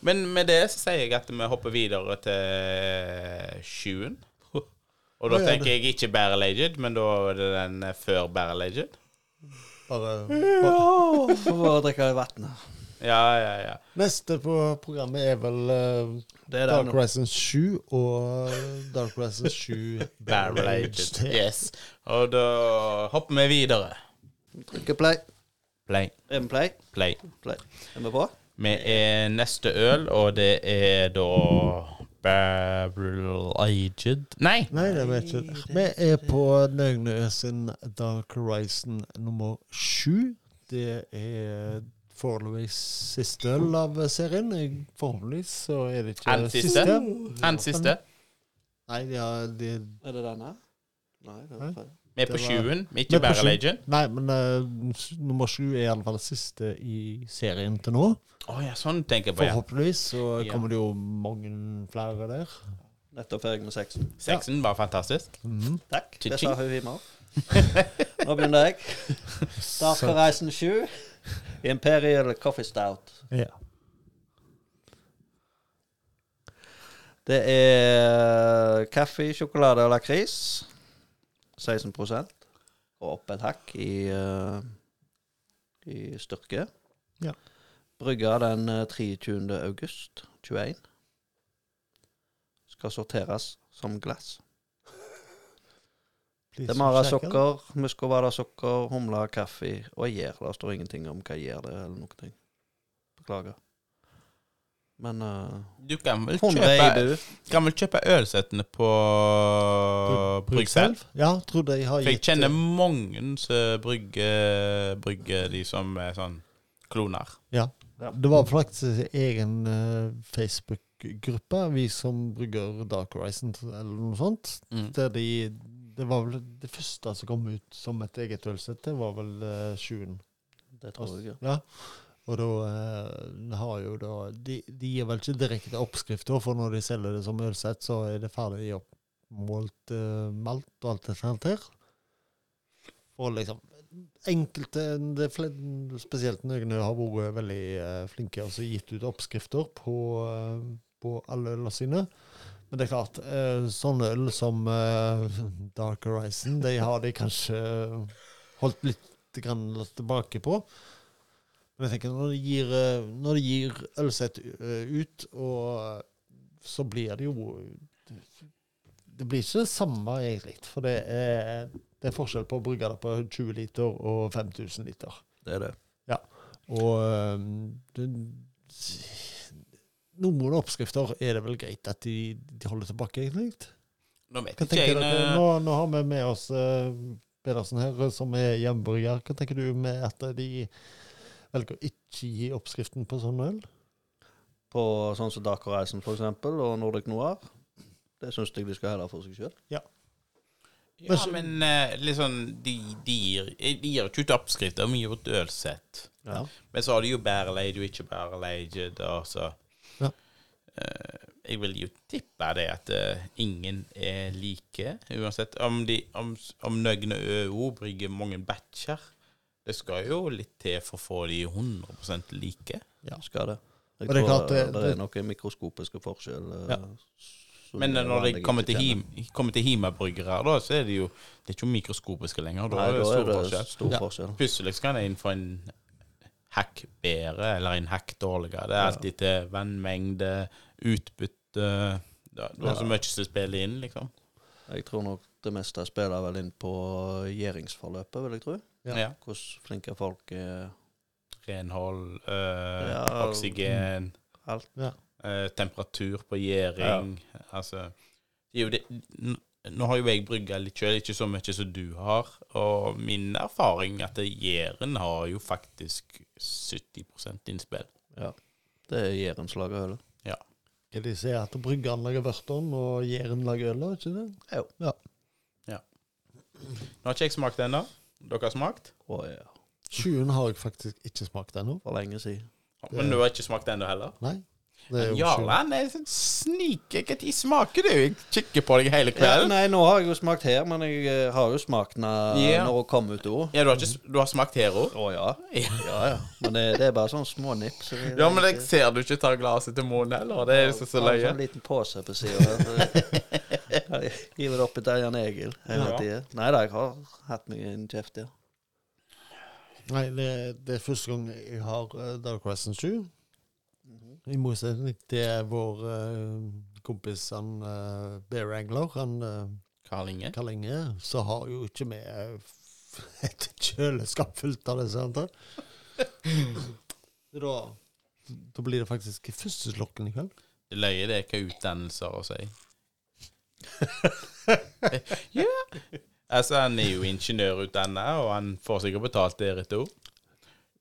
[SPEAKER 2] Men med det så sier jeg at vi hopper videre til sjuen. Og da
[SPEAKER 3] Å, ja,
[SPEAKER 2] tenker jeg ikke Barrel Aged, men da er det den før Barrel Aged.
[SPEAKER 3] Bare, bare.
[SPEAKER 1] Åh, Får bare drikke vann.
[SPEAKER 2] Ja, ja, ja.
[SPEAKER 3] Neste på programmet er vel eh,
[SPEAKER 1] Det er
[SPEAKER 3] Dark
[SPEAKER 1] den.
[SPEAKER 3] Horizon 7 og eh, Dark Horizon 7
[SPEAKER 2] Barrel Aged. Yes. Og da hopper vi videre.
[SPEAKER 1] Trykker play.
[SPEAKER 2] Play,
[SPEAKER 1] Er vi play?
[SPEAKER 2] play.
[SPEAKER 1] Play. Er vi på?
[SPEAKER 2] Vi er neste øl, og det er da Barrel Aged Nei!
[SPEAKER 3] Nei, det vet jeg ikke. Vi er på Nøgne sin Dark Horizon nummer sju. Det er foreløpig siste øl av serien. Forhåpentligvis så er det ikke
[SPEAKER 2] Den siste? Den siste.
[SPEAKER 3] Nei, ja, det
[SPEAKER 1] Er det denne? Nei, det
[SPEAKER 3] Nei.
[SPEAKER 1] er feil.
[SPEAKER 2] Vi er på
[SPEAKER 3] Det var-
[SPEAKER 2] sjuen,
[SPEAKER 3] Vi
[SPEAKER 2] ikke
[SPEAKER 3] er på
[SPEAKER 2] Barrel
[SPEAKER 3] sju.
[SPEAKER 2] Aged
[SPEAKER 3] Nei, men eh, s- nummer sju er iallfall siste i serien til nå.
[SPEAKER 2] Å ja, sånn tenker jeg på. ja.
[SPEAKER 3] Forhåpentligvis så
[SPEAKER 2] Ja.
[SPEAKER 3] kommer det jo mange flere der.
[SPEAKER 1] Nettopp ferdig med sexen.
[SPEAKER 2] Sexen var fantastisk.
[SPEAKER 3] Mhm.
[SPEAKER 1] Takk. Det
[SPEAKER 2] Tji-tji.
[SPEAKER 1] sa hun hjemme. Nå begynner jeg. Dark
[SPEAKER 3] Så-
[SPEAKER 1] Horizon 7. Imperial Coffee Stout.
[SPEAKER 3] Ja.
[SPEAKER 1] Det er kaffe, sjokolade og lakris. 16 Og opp et hakk i, eh, i styrke.
[SPEAKER 3] Ja.
[SPEAKER 1] Brygga den eh, 23. august 21. Skal sorteres som glass.
[SPEAKER 3] Please,
[SPEAKER 1] Det er mara
[SPEAKER 3] sjekk den.
[SPEAKER 1] sukker, muskovada sukker, humle, kaffe og gjær. Det står ingenting om hva gjær det er, eller noen ting. Beklager. Men eh,
[SPEAKER 2] Du kan vel
[SPEAKER 1] 100 i
[SPEAKER 2] kjøpe,
[SPEAKER 1] bu.
[SPEAKER 2] kan vel kjøpe ølsettene på Bryggselv?
[SPEAKER 3] Ja, trodde jeg har
[SPEAKER 2] For jeg
[SPEAKER 3] gitt eh,
[SPEAKER 2] kjenner mange som brygger, brygger de som er sånn kloner.
[SPEAKER 3] Det var faktisk egen eh, Facebook-gruppe, vi som brygger Dark Horizon eller noe sånt.
[SPEAKER 2] Mm.
[SPEAKER 3] Der de, det var vel det første som kom ut som et eget ølsett, det var vel eh, sjuen.
[SPEAKER 1] Det tror jeg. ja.
[SPEAKER 3] Ja. Og da eh, har jo da De, de gir vel ikke direkte oppskrift, da, for når de selger det som ølsett, så er det ferdig oppmålt eh, malt og alt det der. Og liksom Enkelte, det er fle- spesielt Nøgne, har vært veldig eh, flinke og så gitt ut oppskrifter på, eh, på alle ølene sine. Men det er klart, eh, sånne øl som eh, Dark Horizon, de har de kanskje holdt litt grann tilbake på. Men jeg tenker, når de gir, eh, når de gir Ølseth eh, ut, og eh, så blir det jo Det blir ikke det samme, egentlig. For det er, det er forskjell på å bruke det på 20 liter og 5000 liter.
[SPEAKER 1] Det er det.
[SPEAKER 3] Og eh, det, noen oppskrifter er det vel greit at de, de holder tilbake, egentlig.
[SPEAKER 2] Nå vet
[SPEAKER 3] Hva
[SPEAKER 2] ikke
[SPEAKER 3] tenker
[SPEAKER 2] jeg eh,
[SPEAKER 3] dere?
[SPEAKER 2] nå-
[SPEAKER 3] Nå, nå har vi med oss eh, Pedersen her, som er hjemmebrygger. Hva tenker du med at de velger å ikke gi oppskriften på sånn øl?
[SPEAKER 1] på sånn som Dark Horizon for eksempel, og Nordic Noir. Det syns jeg de skal heller for seg sjøl.
[SPEAKER 2] Ja, men eh, liksom De, de, gir, de gir ikke ut oppskrifter, men gir ut ølsett.
[SPEAKER 3] Ja.
[SPEAKER 2] Men så har du jo barrel aged og ikke barrel aged, og så
[SPEAKER 3] Ja.
[SPEAKER 2] Eh, Jeg vil jo tippe det at eh, ingen er like, uansett. Om, de, om, om Nøgne ØO brygger mange batcher Det skal jo litt til for å få de 100 like.
[SPEAKER 3] Ja.
[SPEAKER 1] Skal det. Jeg
[SPEAKER 3] Og det er
[SPEAKER 1] tror
[SPEAKER 3] klart det-
[SPEAKER 1] det,
[SPEAKER 3] det-
[SPEAKER 1] er noen mikroskopiske eh, forskjeller.
[SPEAKER 3] Ja.
[SPEAKER 2] Men eh, når de kommer til, him, kommer til Hima-bryggere, da, så er det jo Det er ikke mikroskopiske lenger. Da
[SPEAKER 1] Nei,
[SPEAKER 2] er det stor forskjell.
[SPEAKER 1] stor
[SPEAKER 3] Ja.
[SPEAKER 1] forskjell.
[SPEAKER 2] Plutselig skal en inn for en hakk bedre eller en hakk dårligere. Det er
[SPEAKER 1] Ja.
[SPEAKER 2] alltid til vannmengde, utbytte Det det var så mye som spiller inn, liksom.
[SPEAKER 1] Jeg tror nok det meste spiller vel inn på gjæringsforløpet, vil jeg tro.
[SPEAKER 3] Ja.
[SPEAKER 2] Ja.
[SPEAKER 1] Hvordan flinke folk er.
[SPEAKER 2] Renhold, øh,
[SPEAKER 1] Ja.
[SPEAKER 2] oksygen,
[SPEAKER 1] Alt.
[SPEAKER 3] Ja.
[SPEAKER 2] øh, temperatur på gjæring Altså det er jo det, n- Nå har jo jeg brygga litt sjøl, ikke så mye som du har. Og min erfaring er at gjæren har jo faktisk 70 innspill.
[SPEAKER 1] Ja. Det er gjærenslag av ølet.
[SPEAKER 3] Hva de sier at bryggeren lager vørteren, og gjæren lager øl, er ikke det?
[SPEAKER 1] Jo.
[SPEAKER 3] Ja.
[SPEAKER 2] Nå har ikke jeg smakt ennå. Dere har smakt?
[SPEAKER 1] Å ja.
[SPEAKER 3] Sjuen har jeg faktisk ikke smakt ennå.
[SPEAKER 1] For lenge siden.
[SPEAKER 2] Men du har ikke smakt ennå heller?
[SPEAKER 3] Nei. Det er jo sjukt.
[SPEAKER 2] Jarle han er sånn sniker Når smaker du? Jeg kikker på deg hele
[SPEAKER 1] Ja,
[SPEAKER 2] kvelden.
[SPEAKER 1] nei, nå har jeg jo smakt her, men jeg eh, har jo smakt den eh,
[SPEAKER 2] Ja.
[SPEAKER 1] når hun kom ut òg.
[SPEAKER 2] Ja, du har, ikke, s- du har smakt Hero?
[SPEAKER 1] Å ja. Ja, ja. Men det, det er bare sånn små nipp. Så det,
[SPEAKER 2] Ja, men jeg ser du ikke tar glasset til munnen heller. Det er jo så, så
[SPEAKER 1] Har en
[SPEAKER 2] løye.
[SPEAKER 1] sånn liten pose på sida. eh, Hiver det oppi til Jan Egil hele
[SPEAKER 2] Ja.
[SPEAKER 1] tiden. Nei da, jeg har hatt meg en kjeft, ja.
[SPEAKER 3] Nei, det, det er første gang jeg har eh, Dark Horizon 7. I motsetning til vår eh, kompis han eh, Bear Angler, han eh,
[SPEAKER 2] Karl Inge?
[SPEAKER 3] Karl Inge, så har jo ikke vi eh, f- et kjøleskap fullt av disse. sant? Så Da, da blir det faktisk førsteslokken i kveld.
[SPEAKER 2] Det løye det er hva utdannelser har å si. ja. Altså, han er jo ingeniørutdanna, og han får sikkert betalt deretter òg.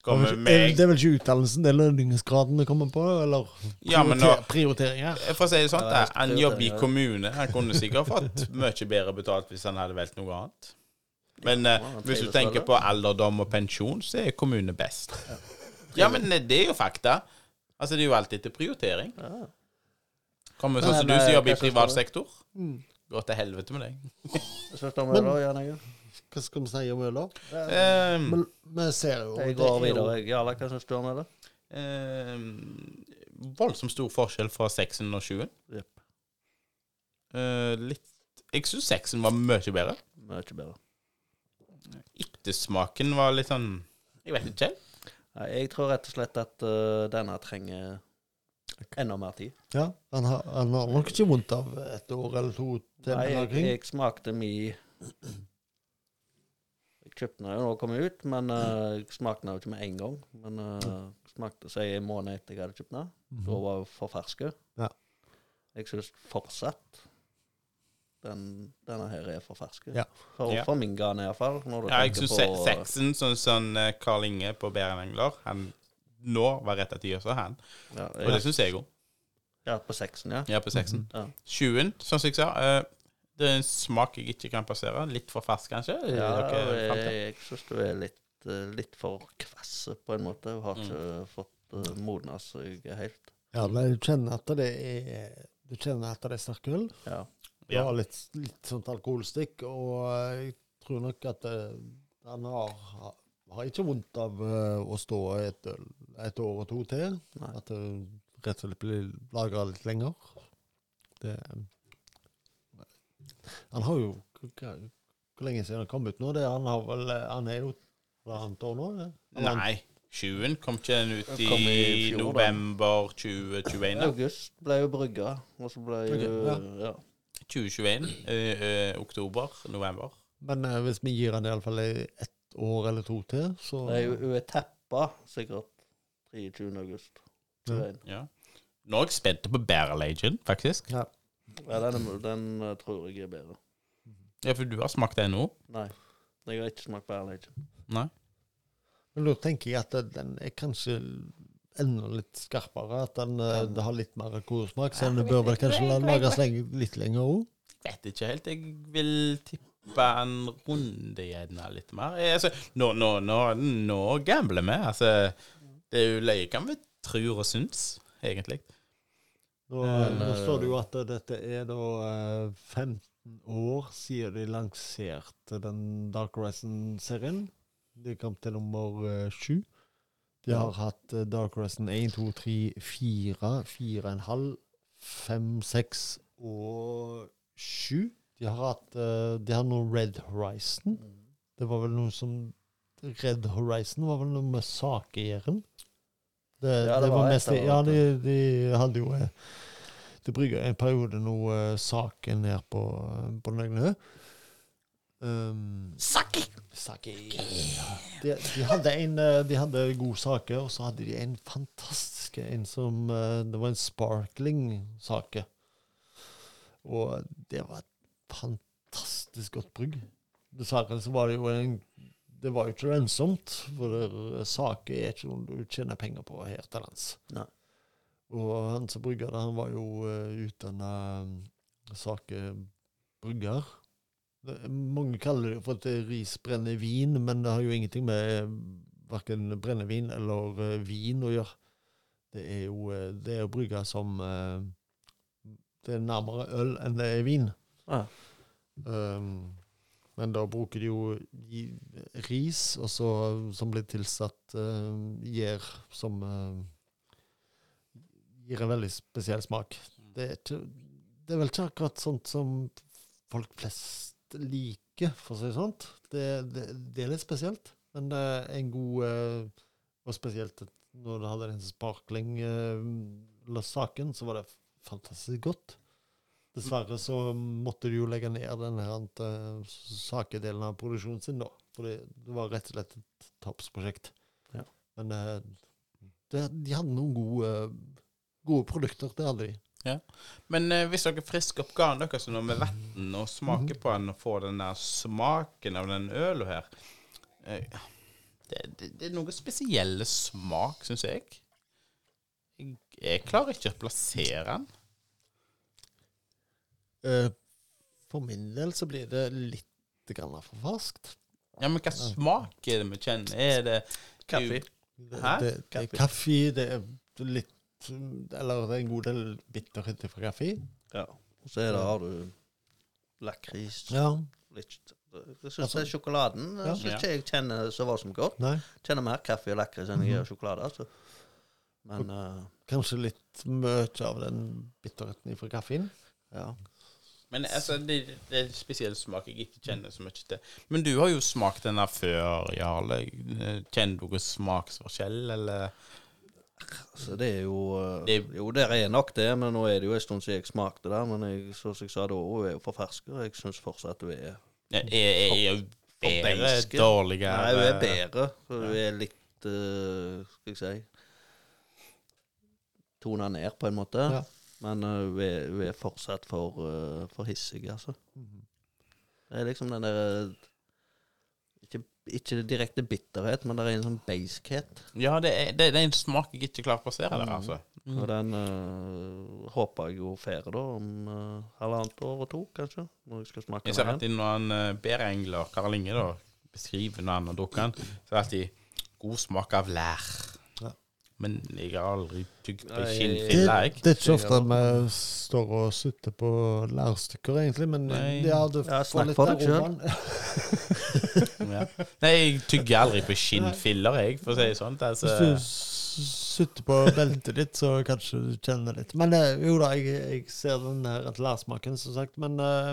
[SPEAKER 2] Kommer
[SPEAKER 3] Det er-
[SPEAKER 2] meg
[SPEAKER 3] det er vel ikke utdannelsen, det er lønningsgraden det kommer på, eller
[SPEAKER 2] Ja, men nå
[SPEAKER 3] prioriter- prioriteringer.
[SPEAKER 2] For å si det sånn,
[SPEAKER 1] Ja,
[SPEAKER 2] da,
[SPEAKER 1] det er
[SPEAKER 2] han
[SPEAKER 1] helt
[SPEAKER 2] jobber i
[SPEAKER 1] prioritering, ja.
[SPEAKER 2] kommune. Han kunne sikkert fått mye bedre betalt hvis han hadde valgt noe annet. Men eh,
[SPEAKER 1] han
[SPEAKER 2] hvis du
[SPEAKER 1] trives
[SPEAKER 2] tenker
[SPEAKER 1] vel,
[SPEAKER 2] på alderdom og pensjon, så er kommune best. Ja, men eh, det er jo fakta. Altså, det er jo alltid etter prioritering.
[SPEAKER 1] Ja.
[SPEAKER 2] Kommer
[SPEAKER 1] Men,
[SPEAKER 2] sånn som du
[SPEAKER 1] eh,
[SPEAKER 2] som jobber
[SPEAKER 1] hva
[SPEAKER 2] i
[SPEAKER 1] synes
[SPEAKER 2] privat
[SPEAKER 1] du?
[SPEAKER 2] sektor.
[SPEAKER 3] Mm.
[SPEAKER 2] Går til helvete med deg.
[SPEAKER 1] Så står vi
[SPEAKER 3] Men-
[SPEAKER 1] da, Jan Egil.
[SPEAKER 3] Hva skal vi si om øl, da?
[SPEAKER 2] Ehm,
[SPEAKER 3] Men vi ser jo
[SPEAKER 1] Jeg
[SPEAKER 3] det
[SPEAKER 1] går
[SPEAKER 3] er jo-
[SPEAKER 1] videre. jeg. Jarle, hva syns du om det?
[SPEAKER 2] ehm, voldsomt stor forskjell fra 620.
[SPEAKER 1] Jepp.
[SPEAKER 2] Eh, litt Jeg syns 6-en var mye bedre.
[SPEAKER 1] Mye bedre.
[SPEAKER 2] Ettersmaken var litt sånn Jeg vet ikke.
[SPEAKER 1] Nei, jeg tror rett og slett at eh, denne trenger enda mer tid.
[SPEAKER 3] Ja, han har, han har nok ikke vondt av et år eller to til
[SPEAKER 1] Nei,
[SPEAKER 3] en
[SPEAKER 1] jeg,
[SPEAKER 3] lagring.
[SPEAKER 1] jeg smakte mi Jeg kjøpte den jo da den kom ut, men eh, jeg smakte den jo ikke med en gang. Men eh, smakte seg en måned etter jeg hadde kjøpt den. Da
[SPEAKER 3] Mhm.
[SPEAKER 1] var hun for ferske.
[SPEAKER 3] Ja.
[SPEAKER 1] Jeg syns fortsatt den, denne her er for ferske.
[SPEAKER 3] Ja.
[SPEAKER 1] For,
[SPEAKER 2] Ja.
[SPEAKER 1] for min garn iallfall.
[SPEAKER 2] Ja, jeg syns sexen, sånn som sånn, Carl Inge på Bæren Engler Han nå var rett etter også, han.
[SPEAKER 1] Ja, Mhm.
[SPEAKER 2] Og det
[SPEAKER 1] jeg,
[SPEAKER 2] syns jeg òg.
[SPEAKER 1] ja, på seksen, ja.
[SPEAKER 2] Ja, på sexen.
[SPEAKER 1] Ja.
[SPEAKER 2] 20-en, sånn som jeg sa. eh, det er en smak jeg ikke kan passere. Litt for fersk, kanskje? Er det
[SPEAKER 1] ja
[SPEAKER 2] dere fant
[SPEAKER 1] jeg
[SPEAKER 2] det?
[SPEAKER 1] jeg syns du er litt, eh, litt for kvass på en måte.
[SPEAKER 2] Mm.
[SPEAKER 1] Jeg har ikke fått uh, modna seg helt.
[SPEAKER 3] Ja, men du kjenner at det er Du kjenner at det er sterk øl.
[SPEAKER 1] Ja.
[SPEAKER 3] Det
[SPEAKER 2] Ja.
[SPEAKER 3] har litt, litt sånt alkoholstikk, og eh, jeg tror nok at det, han har, har ikke vondt av eh, å stå et, øl- et år og to til.
[SPEAKER 1] Nei.
[SPEAKER 3] At det rett og slett blir lagra litt lenger. Det Han har jo hva, Hvor lenge siden han kom ut nå? Det, han, har vel, eh, han er jo halvannet år nå? eh? det? Halvannet-
[SPEAKER 2] Nei. 20-en kom ikke den ut
[SPEAKER 1] Den kom i
[SPEAKER 2] i
[SPEAKER 1] fjor, da.
[SPEAKER 2] november 2021? da?
[SPEAKER 1] August ble jo brygga, og så ble jo
[SPEAKER 3] Ok,
[SPEAKER 1] ja.
[SPEAKER 2] 2021. eh, eh, oktober? November?
[SPEAKER 3] Men eh, hvis vi gir han iallfall ett år eller to til, så
[SPEAKER 1] Nei, Hun hun er tappa sikkert 23. august.
[SPEAKER 3] Ja.
[SPEAKER 1] Ja.
[SPEAKER 2] Ja. Nå er jeg spent på Barrel Agent, faktisk.
[SPEAKER 3] ja.
[SPEAKER 1] Ja, den, er- den eh, tror jeg er bedre.
[SPEAKER 2] Ja, for du har smakt den nå?
[SPEAKER 1] Nei. Jeg har ikke smakt Barrel Agent.
[SPEAKER 2] Nei?
[SPEAKER 3] Men da tenker jeg at den er kanskje enda litt skarpere. At den eh, det har litt mer alkoholsmak, så den bør vel kanskje la- lages lenge, litt lenger òg.
[SPEAKER 2] vet ikke helt. Jeg vil tippe en runde gjerne litt mer. Eh, Altså, nå, nå, nå, nå gambler vi. Altså, det er jo løye hva vi tror og syns, egentlig.
[SPEAKER 3] Nå
[SPEAKER 2] Men,
[SPEAKER 3] nå
[SPEAKER 1] eh,
[SPEAKER 3] står det jo at dette er da eh, 15 år siden de lanserte den Dark Horizon-serien. De kom til nummer eh, sju. De har hatt eh, Dark Horizon 1, 2, 3, 4, 4,5, 5, 6 og 7. De har hatt eh, De har noe Red Horizon. Det var vel noe som Red Horizon var vel noe med sakejæren. Det,
[SPEAKER 1] Ja,
[SPEAKER 3] det,
[SPEAKER 1] det
[SPEAKER 3] var,
[SPEAKER 1] var
[SPEAKER 3] mest
[SPEAKER 1] etter
[SPEAKER 3] Ja, de,
[SPEAKER 1] hverandre.
[SPEAKER 3] de hadde jo eh, De brygga en periode noe eh, sake ned på, eh, på Nøgnø. Um,
[SPEAKER 2] Saki!
[SPEAKER 3] sake de, de, hadde en, eh, de hadde god sake, og så hadde de en fantastisk en som eh, Det var en sparkling-sake. Og det var et fantastisk godt brygg. Dessverre så var det jo en Det var jo ikke lønnsomt, for det- sake er ikke noe du tjener penger på her til lands.
[SPEAKER 1] Nei.
[SPEAKER 3] Og han som brygga det, han var jo uh, utdanna sakebrygger. Det- Mange kaller det for et risbrennevin, men det har jo ingenting med verken brennevin eller eh, vin å eh, gjøre. Det er jo eh, det er å bruke som eh, Det er nærmere øl enn det er vin.
[SPEAKER 1] Ja.
[SPEAKER 3] Um, men da bruker de jo i- ris, og så, som blir tilsatt eh, gjær, som eh, gir en veldig spesiell smak. Det er, ikke, det er vel ikke akkurat sånt som folk flest liker, for å si det sånn. Det, det, det er litt spesielt, men det er en god eh, Og spesielt et- når du hadde den sparkling-saken, så var det fantastisk godt. Dessverre så måtte de jo legge ned den her eh, sakedelen av produksjonen sin, da. For det det var rett og slett et tapsprosjekt.
[SPEAKER 1] Ja.
[SPEAKER 3] Men eh, det, de hadde noen gode, gode produkter, det hadde de.
[SPEAKER 2] Men eh, hvis dere frisker opp garn deres nå med vann og smaker på den og får den der smaken av den ølen her eh, det, det, det er noe spesielle smak, syns jeg. jeg. Jeg klarer ikke å plassere den.
[SPEAKER 3] Eh, For min del så blir det litt grann for ferskt.
[SPEAKER 2] Ja, Men hva smak er det vi kjenner? Er det
[SPEAKER 1] Kaffe.
[SPEAKER 3] Det,
[SPEAKER 2] Hæ?
[SPEAKER 3] Det, det er kaffe, det er litt Eller det er en god del bitterhet fra kaffe.
[SPEAKER 1] Ja. Og så er det, har du lakris
[SPEAKER 3] Ja.
[SPEAKER 1] litt, Jeg syns det er sjokoladen
[SPEAKER 3] Ja.
[SPEAKER 1] Jeg syns ikke jeg kjenner så voldsomt godt.
[SPEAKER 3] Nei.
[SPEAKER 1] Kjenner mer kaffe og lakris enn jeg gjør sjokolade. Altså. Men eh,
[SPEAKER 3] Kanskje litt mye av den bitterheten fra kaffen.
[SPEAKER 1] ja.
[SPEAKER 2] Men altså, det, det er en spesiell smak jeg ikke kjenner så mye til. Men du har jo smakt den der før, Jarle. Kjenner du noen smaksforskjell, eller?
[SPEAKER 1] Så det er jo eh,
[SPEAKER 2] Det-
[SPEAKER 1] Jo, der er nok det, men nå er det jo en stund siden jeg smakte det. Men jeg, som jeg sa da, hun er jo for fersk, og jeg syns fortsatt hun er
[SPEAKER 2] Ja, Er, er, er jo bedre,
[SPEAKER 1] deiske.
[SPEAKER 2] dårligere?
[SPEAKER 1] Nei, hun er bedre. for Hun er litt eh, Skal jeg si Tona ned, på en måte.
[SPEAKER 3] Ja.
[SPEAKER 1] Men eh, hun, er, hun er fortsatt for, eh, for hissig, altså.
[SPEAKER 3] Mhm.
[SPEAKER 1] Det er liksom den derre ikke, ikke direkte bitterhet, men det er en sånn beiskhet.
[SPEAKER 2] Ja, det er, det, det er en smak jeg ikke klarer å plassere der,
[SPEAKER 1] Mm.
[SPEAKER 2] altså.
[SPEAKER 3] Mhm.
[SPEAKER 1] Og den eh, håper jeg jo får, da, om eh, halvannet år og to, kanskje. Når jeg skal smake
[SPEAKER 2] Jeg ser
[SPEAKER 1] den igjen.
[SPEAKER 2] alltid når en uh, bærengler, Karl Inge, da, beskriver når han har drukket den, så er det alltid god smak av lær.
[SPEAKER 3] Ja.
[SPEAKER 2] Men jeg har aldri tygd på
[SPEAKER 1] Nei,
[SPEAKER 3] Det,
[SPEAKER 2] skinnfilla, jeg.
[SPEAKER 3] det er ikke ofte vi står og sutter på lærstykker, egentlig, men
[SPEAKER 2] Nei.
[SPEAKER 3] ja, du
[SPEAKER 1] Ja,
[SPEAKER 3] får
[SPEAKER 1] snakk
[SPEAKER 3] litt
[SPEAKER 1] for deg selv.
[SPEAKER 3] aromaen.
[SPEAKER 2] Ja. Nei, jeg tygger aldri på skinnfiller, jeg, for å si det sånn. Altså,
[SPEAKER 3] Hvis du s- sutter på beltet ditt, så kanskje du kjenner litt. Men eh, jo da, jeg, jeg ser den her lærsmaken, som sagt, men eh,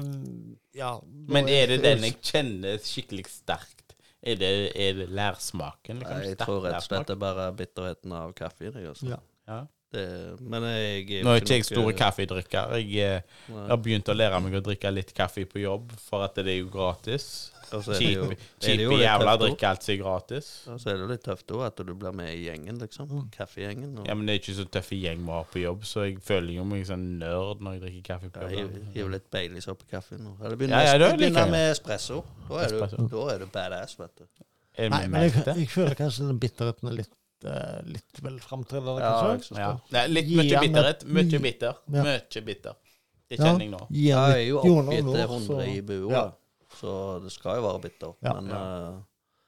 [SPEAKER 3] ja.
[SPEAKER 2] men er det den jeg kjenner skikkelig sterkt? Er det, er det lærsmaken?
[SPEAKER 1] Nei,
[SPEAKER 2] Liksom?
[SPEAKER 1] jeg
[SPEAKER 2] Sterk
[SPEAKER 1] tror rett og slett
[SPEAKER 2] lærsmak?
[SPEAKER 1] det er bare bitterheten av kaffe i det. Altså.
[SPEAKER 3] Ja.
[SPEAKER 2] Ja.
[SPEAKER 1] Det, men jeg er jo
[SPEAKER 2] Nå er ikke jeg
[SPEAKER 1] noe-
[SPEAKER 2] store kaffedrikker. Jeg eh,
[SPEAKER 1] Nei.
[SPEAKER 2] har begynt å lære meg å drikke litt kaffe på jobb, for at det er jo gratis.
[SPEAKER 1] Og så er det jo- er
[SPEAKER 2] Kjipe
[SPEAKER 1] det jo
[SPEAKER 2] kjipe
[SPEAKER 1] litt
[SPEAKER 2] jævla
[SPEAKER 1] tøft også.
[SPEAKER 2] drikker alt som er gratis.
[SPEAKER 1] Ja, så er det jo litt tøft òg, at du blir med i gjengen, liksom. Kaffegjengen. Og
[SPEAKER 2] Mm. Ja, men det er ikke så tøff gjeng vi har på jobb, så jeg føler jo meg sånn nerd når jeg drikker kaffe på
[SPEAKER 1] Ja,
[SPEAKER 2] jobb.
[SPEAKER 1] hiv- hiv litt Baileys oppi kaffen. og- Eller
[SPEAKER 2] Ja, ja,
[SPEAKER 1] begynner
[SPEAKER 2] det
[SPEAKER 1] med,
[SPEAKER 2] liker jeg.
[SPEAKER 1] begynner med espresso. Da er, du,
[SPEAKER 2] Espresso.
[SPEAKER 1] da er du badass, vet du.
[SPEAKER 2] Er det
[SPEAKER 3] Nei,
[SPEAKER 2] mye
[SPEAKER 3] men jeg,
[SPEAKER 2] melk til?
[SPEAKER 3] jeg føler kanskje den bitterheten er litt, eh, litt vel
[SPEAKER 1] Ja,
[SPEAKER 3] framtredende,
[SPEAKER 1] jeg
[SPEAKER 3] kanskje.
[SPEAKER 1] syns
[SPEAKER 2] Ja.
[SPEAKER 1] det.
[SPEAKER 2] Nei, litt
[SPEAKER 3] Gi
[SPEAKER 2] mye
[SPEAKER 3] han et-
[SPEAKER 2] bitterhet. Mye bitter.
[SPEAKER 3] Ja.
[SPEAKER 2] Mye bitter. Det
[SPEAKER 3] Ja.
[SPEAKER 2] kjenner jeg nå.
[SPEAKER 3] Gi
[SPEAKER 1] Ja,
[SPEAKER 3] han
[SPEAKER 1] jeg er jo
[SPEAKER 3] litt jord og
[SPEAKER 1] oppgitt til
[SPEAKER 3] noe, så-
[SPEAKER 1] 100 i bua,
[SPEAKER 3] Ja.
[SPEAKER 1] så det skal jo være bitter.
[SPEAKER 3] Ja.
[SPEAKER 1] Men eh,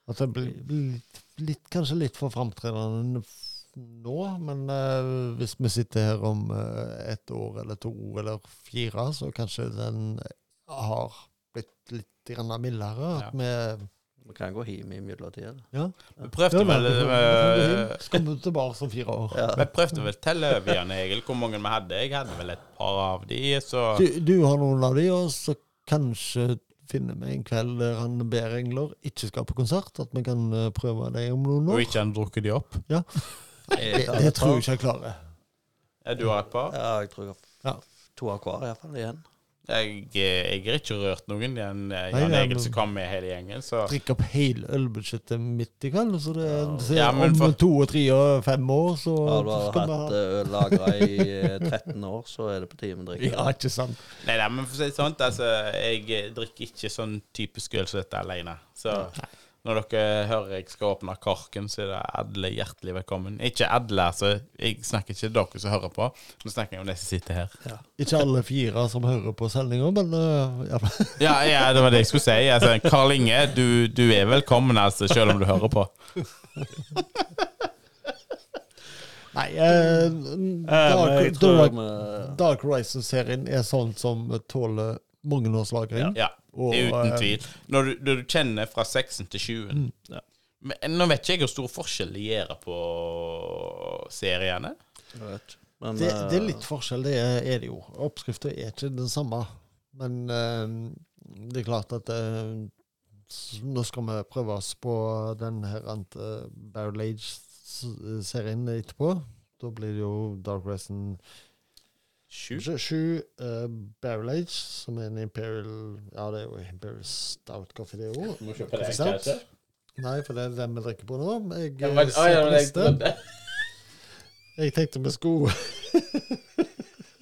[SPEAKER 3] At det blir litt, litt, kanskje litt for framtredende f- nå, men eh, hvis vi sitter her om eh, et år eller to eller fire, så kanskje den har blitt litt grann mildere. At vi
[SPEAKER 1] vi kan gå hjem i mellomtida.
[SPEAKER 3] ja.
[SPEAKER 2] Vi prøvde
[SPEAKER 3] Ja,
[SPEAKER 2] vel
[SPEAKER 3] men-
[SPEAKER 2] eh,
[SPEAKER 3] Så kommer vi tilbake om fire år.
[SPEAKER 1] Ja.
[SPEAKER 2] Vi prøvde vel telle over igjen, Egil, hvor mange vi hadde. Jeg hadde vel et par av de, så
[SPEAKER 3] Du, du har noen av de, og så kanskje finner vi en kveld der han ber engler ikke skal på konsert, at vi kan eh, prøve det om noen
[SPEAKER 2] Og
[SPEAKER 3] år.
[SPEAKER 2] ikke han drukket de opp.
[SPEAKER 3] Det, det tror jeg ikke jeg klarer.
[SPEAKER 2] Ja, Du har et par?
[SPEAKER 1] Ja, jeg tror jeg
[SPEAKER 3] Ja.
[SPEAKER 1] har f- to av hver, iallfall. Igjen.
[SPEAKER 2] Jeg, jeg har ikke rørt noen. Jan,
[SPEAKER 3] Nei,
[SPEAKER 2] Jan
[SPEAKER 3] nei,
[SPEAKER 2] Egil
[SPEAKER 3] men-
[SPEAKER 2] som kom med hele gjengen, så
[SPEAKER 3] drikke opp hele ølbudsjettet midt i kveld. Så det, så
[SPEAKER 2] Ja, men
[SPEAKER 3] om
[SPEAKER 2] for-
[SPEAKER 3] to og tre og fem år, så
[SPEAKER 1] Har du
[SPEAKER 3] skal vi
[SPEAKER 1] hatt
[SPEAKER 3] ha
[SPEAKER 1] eh, øl lagra i eh, 13 år, så er det på tide med drikke.
[SPEAKER 2] Eh,
[SPEAKER 3] Ja, ikke sant.
[SPEAKER 2] Nei, nei, men for å si det sånn, altså, jeg drikker ikke sånn typisk øl som dette alene. Så når dere hører jeg skal åpne korken, så er det alle hjertelig velkommen. Ikke alle, altså. Jeg snakker ikke til dere som hører på. Nå snakker jeg om de som sitter her.
[SPEAKER 3] Ikke alle fire som hører på sendinga, men øh, ja.
[SPEAKER 2] Ja, ja, det var det jeg skulle si. Altså, Karl Inge, du, du er velkommen, altså, selv om du hører på.
[SPEAKER 3] Nei, eh,
[SPEAKER 4] men jeg
[SPEAKER 3] Dark,
[SPEAKER 4] tror-
[SPEAKER 3] Dark,
[SPEAKER 1] Med,
[SPEAKER 3] Dark Horizon-serien er sånn som tåler mange års lagring.
[SPEAKER 2] Ja,
[SPEAKER 3] Og,
[SPEAKER 2] det er uten
[SPEAKER 3] eh,
[SPEAKER 2] tvil. Når du, når du kjenner fra 6-en til 20-en
[SPEAKER 4] ja.
[SPEAKER 2] Men Nå vet ikke jeg hvor stor forskjell det gjør på seriene.
[SPEAKER 1] jeg vet. Men,
[SPEAKER 3] Det, det er
[SPEAKER 1] eh,
[SPEAKER 3] litt forskjell, det er, er det jo. Oppskrifta er ikke den samme. Men eh, det er klart at eh, s- nå skal vi prøve oss på den her ant- eh, Barrel Age-serien etterpå. Da blir det jo Dark Racing
[SPEAKER 2] Sju?
[SPEAKER 3] 7, eh, Barrel Age, som er en Imperial Ja, det er jo Imperial Stout Coffee, det òg.
[SPEAKER 5] Må kjøpe det,
[SPEAKER 3] Ikke sant?
[SPEAKER 5] kanskje?
[SPEAKER 3] Nei, for det er den vi drikker på nå. Jeg,
[SPEAKER 5] Ja,
[SPEAKER 3] eh,
[SPEAKER 5] men, å,
[SPEAKER 2] ah,
[SPEAKER 3] ser
[SPEAKER 5] ja,
[SPEAKER 3] på
[SPEAKER 5] men jeg
[SPEAKER 3] listen.
[SPEAKER 5] trodde
[SPEAKER 3] jeg tenkte vi skulle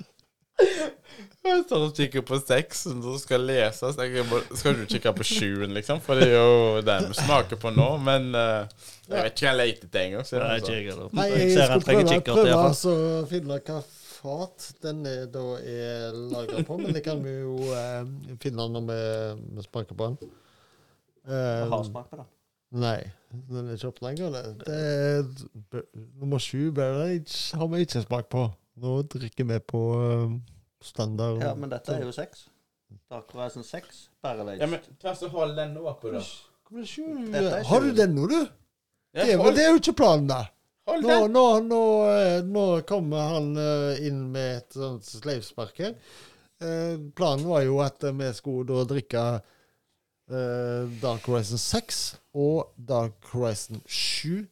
[SPEAKER 2] Jeg står og kikker på 6-en som skal leses. Jeg må, skal du kikke på 7-en, liksom? For det er jo den vi smaker på nå. Men eh, jeg vet ikke hva jeg leter etter engang. så
[SPEAKER 4] Det er ikke
[SPEAKER 2] det er sånn.
[SPEAKER 4] jeg heller.
[SPEAKER 3] Nei,
[SPEAKER 4] Jeg
[SPEAKER 3] jeg
[SPEAKER 4] ser
[SPEAKER 3] skulle
[SPEAKER 4] at jeg
[SPEAKER 3] prøve,
[SPEAKER 4] kikker til
[SPEAKER 3] prøve
[SPEAKER 4] iallfall.
[SPEAKER 3] altså, å finne hva fat den er, da er lagra på, men det kan vi jo eh, finne når vi, vi smaker på den. Eh,
[SPEAKER 1] Har smak på den.
[SPEAKER 3] nei, den er ikke opp lenger. Det, det er b- nummer sju Barrel Age har vi ikke smak på. Nå drikker vi på eh, standard.
[SPEAKER 1] Ja, men dette er jo seks. Dark Horizon 6, Barrel Age.
[SPEAKER 2] Ja, men ta så hold den nå på, da.
[SPEAKER 3] Hvorfor er det sju?
[SPEAKER 1] Dette er
[SPEAKER 3] Har
[SPEAKER 1] sju.
[SPEAKER 3] du den nå, du?
[SPEAKER 2] Ja,
[SPEAKER 3] det, er,
[SPEAKER 2] hold,
[SPEAKER 3] det er jo ikke planen, da.
[SPEAKER 2] hold
[SPEAKER 3] Nå,
[SPEAKER 2] den!
[SPEAKER 3] nå, nå, eh, nå kommer han eh, inn med et sånt sleivspark her. Eh, Planen var jo at eh, vi skulle da drikke eh, Dark Horizon 6 og Dark Horizon 7.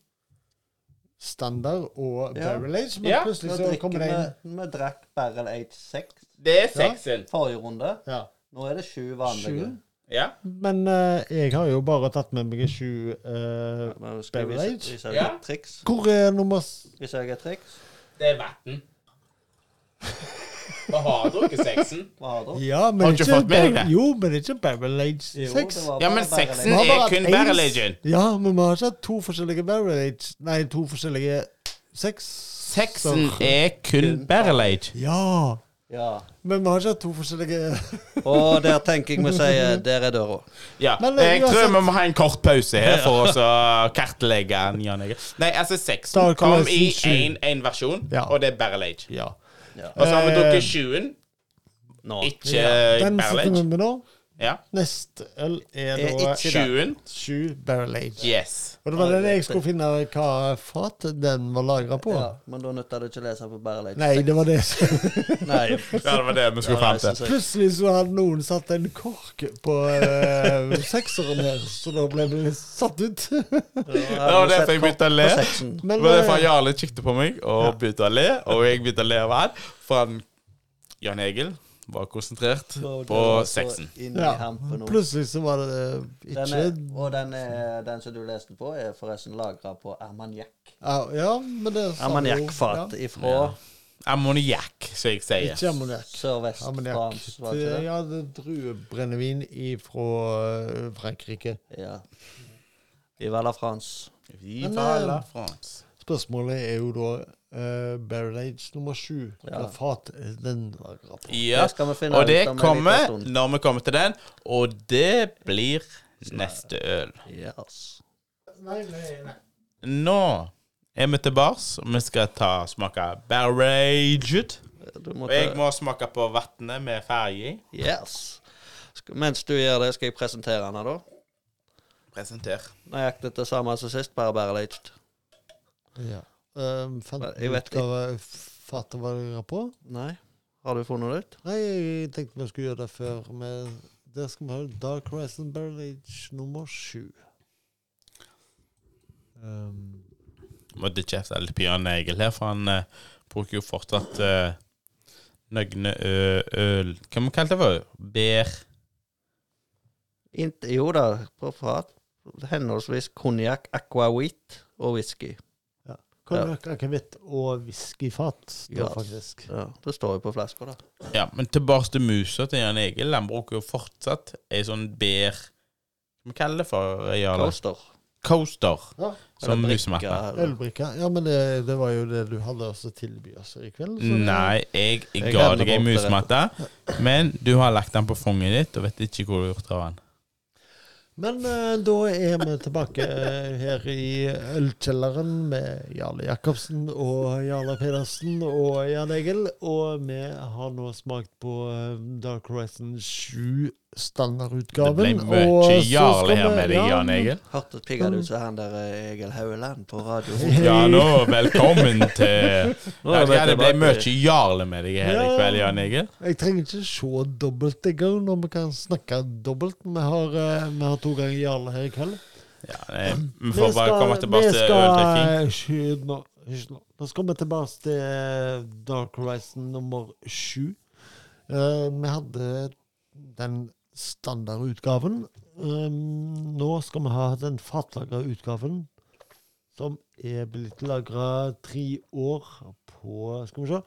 [SPEAKER 3] Standard og
[SPEAKER 1] Ja.
[SPEAKER 3] Barrel Age, men
[SPEAKER 2] Ja,
[SPEAKER 1] Nå
[SPEAKER 3] plutselig så
[SPEAKER 1] drikker
[SPEAKER 3] kommer det inn
[SPEAKER 1] vi Vi drakk Barrel Age 6
[SPEAKER 2] Det er 6-en.
[SPEAKER 1] forrige runde.
[SPEAKER 3] ja.
[SPEAKER 1] Nå er det sju vanlige.
[SPEAKER 3] Sju?
[SPEAKER 2] Ja.
[SPEAKER 3] Men eh, jeg har jo bare tatt med meg sju eh,
[SPEAKER 1] Ja, men skal vi
[SPEAKER 3] Barrel
[SPEAKER 1] vise,
[SPEAKER 3] Age?
[SPEAKER 1] vise
[SPEAKER 2] Ja.
[SPEAKER 1] et triks?
[SPEAKER 3] Hvor er nummer s-
[SPEAKER 1] Viser jeg et triks?
[SPEAKER 2] Det er vann. Vi har drukket 6-en.
[SPEAKER 1] Hva har du?
[SPEAKER 3] Ja, men
[SPEAKER 2] Har du ikke fått med deg det?
[SPEAKER 3] Jo, men ikke Barrel Age 6.
[SPEAKER 2] Ja, men
[SPEAKER 3] Vi
[SPEAKER 2] seksen-
[SPEAKER 3] har
[SPEAKER 2] er
[SPEAKER 3] bare hatt
[SPEAKER 2] kun
[SPEAKER 3] en-
[SPEAKER 2] barrel agent.
[SPEAKER 3] Ja, men vi har ikke hatt to forskjellige barrel age. Nei, to forskjellige seks.
[SPEAKER 2] Sexen er kun barrel age.
[SPEAKER 3] Ja,
[SPEAKER 1] Ja.
[SPEAKER 3] men vi har ikke hatt to forskjellige
[SPEAKER 1] Og der tenker jeg vi sier der er døra.
[SPEAKER 2] Ja.
[SPEAKER 3] Men, eh,
[SPEAKER 2] Jeg tror
[SPEAKER 3] uansett-
[SPEAKER 2] vi må ha en kort pause her for å så kartlegge den. Jan Egil. Nei, altså
[SPEAKER 3] Da
[SPEAKER 2] 6
[SPEAKER 3] kommer
[SPEAKER 2] kom i
[SPEAKER 3] sju.
[SPEAKER 2] én versjon,
[SPEAKER 3] Ja.
[SPEAKER 2] og det er barrel age.
[SPEAKER 3] Ja.
[SPEAKER 2] Og så har vi
[SPEAKER 3] Eh,
[SPEAKER 2] drukket 20-en,
[SPEAKER 1] Nå.
[SPEAKER 2] ikke
[SPEAKER 3] Den
[SPEAKER 2] barrel
[SPEAKER 3] sitter vi
[SPEAKER 2] age.
[SPEAKER 3] med nå. E
[SPEAKER 2] Ja.
[SPEAKER 3] Neste øl er
[SPEAKER 1] Er
[SPEAKER 3] da
[SPEAKER 1] ikke-
[SPEAKER 2] 20-en.
[SPEAKER 3] sju barrel age.
[SPEAKER 2] Yes.
[SPEAKER 3] Og det var den jeg skulle finne hva fat den var lagra på.
[SPEAKER 1] Ja, men da nytter det ikke å lese på Barrel Age.
[SPEAKER 3] Nei, det var det som
[SPEAKER 1] Nei.
[SPEAKER 2] Ja, det var det vi skulle fram til.
[SPEAKER 3] Plutselig så hadde noen satt en kork på eh, sekseren her, så da ble vi satt ut.
[SPEAKER 2] Det var derfor jeg begynte å le. Det
[SPEAKER 3] Men
[SPEAKER 2] var derfor
[SPEAKER 3] eh,
[SPEAKER 2] Jarle kikket på meg og begynte å le, og jeg begynte å le av han. For han Jan Egil var konsentrert på sexen.
[SPEAKER 1] Ja.
[SPEAKER 3] ja, plutselig så var det eh,
[SPEAKER 1] Den
[SPEAKER 3] ikke
[SPEAKER 1] er, og den, er, den som du leste på, er forresten lagra på armagnac.
[SPEAKER 3] Ja, ja, men det sa vi jo.
[SPEAKER 1] Armagnac-fat
[SPEAKER 3] Ja.
[SPEAKER 1] ifra
[SPEAKER 2] Ammoniakk, som jeg sier.
[SPEAKER 3] Ikke ammoniakk. Ammoniakk.
[SPEAKER 1] Sørvest-Frans, var
[SPEAKER 3] Det-
[SPEAKER 1] ikke det?
[SPEAKER 3] Ja, det er druebrennevin ifra eh, Frankrike.
[SPEAKER 1] Ja. Viva la France.
[SPEAKER 2] Viva
[SPEAKER 3] Men, eh,
[SPEAKER 2] la France.
[SPEAKER 3] Spørsmålet er jo da eh, Barrel Age nummer sju. Hva fat er den lagra på?
[SPEAKER 2] Ja,
[SPEAKER 1] Det skal vi finne
[SPEAKER 2] og
[SPEAKER 1] ut
[SPEAKER 2] det
[SPEAKER 1] om en liten
[SPEAKER 2] kommer
[SPEAKER 1] stund.
[SPEAKER 2] når vi kommer til den, og det blir neste øl.
[SPEAKER 1] Yes.
[SPEAKER 3] Nei, nei, nei.
[SPEAKER 2] Nå er vi tilbake, og vi skal ta smake barraged.
[SPEAKER 1] Du må
[SPEAKER 2] Og jeg
[SPEAKER 1] ta,
[SPEAKER 2] må smake på vannet med ferge i.
[SPEAKER 1] yes. Skal- Mens du gjør det, skal jeg presentere den, her da.
[SPEAKER 2] Presenter.
[SPEAKER 1] Nøyaktig det samme som sist, bare bare litt.
[SPEAKER 3] Ja. Um, fant
[SPEAKER 1] Nei,
[SPEAKER 3] du
[SPEAKER 1] jeg vet
[SPEAKER 3] ut eh, hva fatet var lagra på?
[SPEAKER 1] Nei. Har du funnet det ut?
[SPEAKER 3] Nei, jeg tenkte vi skulle gjøre det før, men der skal vi ha Dark Horizon Barrel Age nummer sju. Um,
[SPEAKER 2] Måtte kjefte litt på Jan Egil her, for han eh, bruker jo fortsatt eh, nøgne ø øl Hva man kalte det for? Bær
[SPEAKER 1] Int, jo da, på fat. Henholdsvis konjakk, aquavit og whisky.
[SPEAKER 3] Konjakk, akevitt og whiskyfat, da,
[SPEAKER 1] Ja.
[SPEAKER 3] faktisk.
[SPEAKER 1] Ja, det står jo på flaska, da.
[SPEAKER 2] Ja, men tilbake til musa til Jan Egil. Han bruker jo fortsatt ei sånn bær Hva man kaller det for? Jarle?
[SPEAKER 1] Coaster.
[SPEAKER 2] Coaster.
[SPEAKER 3] Ja.
[SPEAKER 2] Som
[SPEAKER 1] Eller
[SPEAKER 2] musematte.
[SPEAKER 1] brikker.
[SPEAKER 3] Ølbrikka. Ja men det, det var jo det du hadde også tilby oss i kveld. så det-
[SPEAKER 2] Nei, jeg, jeg
[SPEAKER 1] Jeg
[SPEAKER 2] ga
[SPEAKER 1] hadde
[SPEAKER 2] deg ei
[SPEAKER 1] brukt det.
[SPEAKER 2] musematte, men du har lagt den på fanget ditt og vet ikke hvor du har gjort av den.
[SPEAKER 3] Men eh, da er vi tilbake eh, her i ølkjelleren med Jarle Jacobsen og Jarle Pedersen og Jan Egil. Og vi har nå smakt på eh, Dark Horizon 7
[SPEAKER 2] Det ble
[SPEAKER 3] standardutgaven. og
[SPEAKER 2] mye
[SPEAKER 3] så skal
[SPEAKER 2] jarl her
[SPEAKER 3] vi-
[SPEAKER 2] med deg,
[SPEAKER 3] ja,
[SPEAKER 2] Jan Egil.
[SPEAKER 1] Hørtes pigga ut som han der eh, Egil Hauland på radio.
[SPEAKER 2] Ja, nå, velkommen til
[SPEAKER 1] Nå er vi
[SPEAKER 2] Ja, det ble
[SPEAKER 1] tilbake.
[SPEAKER 2] mye jarl med deg her i kveld, Jan Egil.
[SPEAKER 3] Jeg trenger ikke se dobbeltdigger når vi kan snakke dobbelt. Vi har, eh, vi har to ganger Jarle her i kveld.
[SPEAKER 2] Ja, nei, vi får Mm, bare komme tilbake til øldrikking.
[SPEAKER 3] øldrikking. Eh, Nå, hysj nå. Nå skal vi tilbake til eh, Dark Horizon nummer sju. Eh, vi hadde den standardutgaven. Eh, nå skal vi ha den fatlagra utgaven, som er blitt lagra tre år på Skal vi se.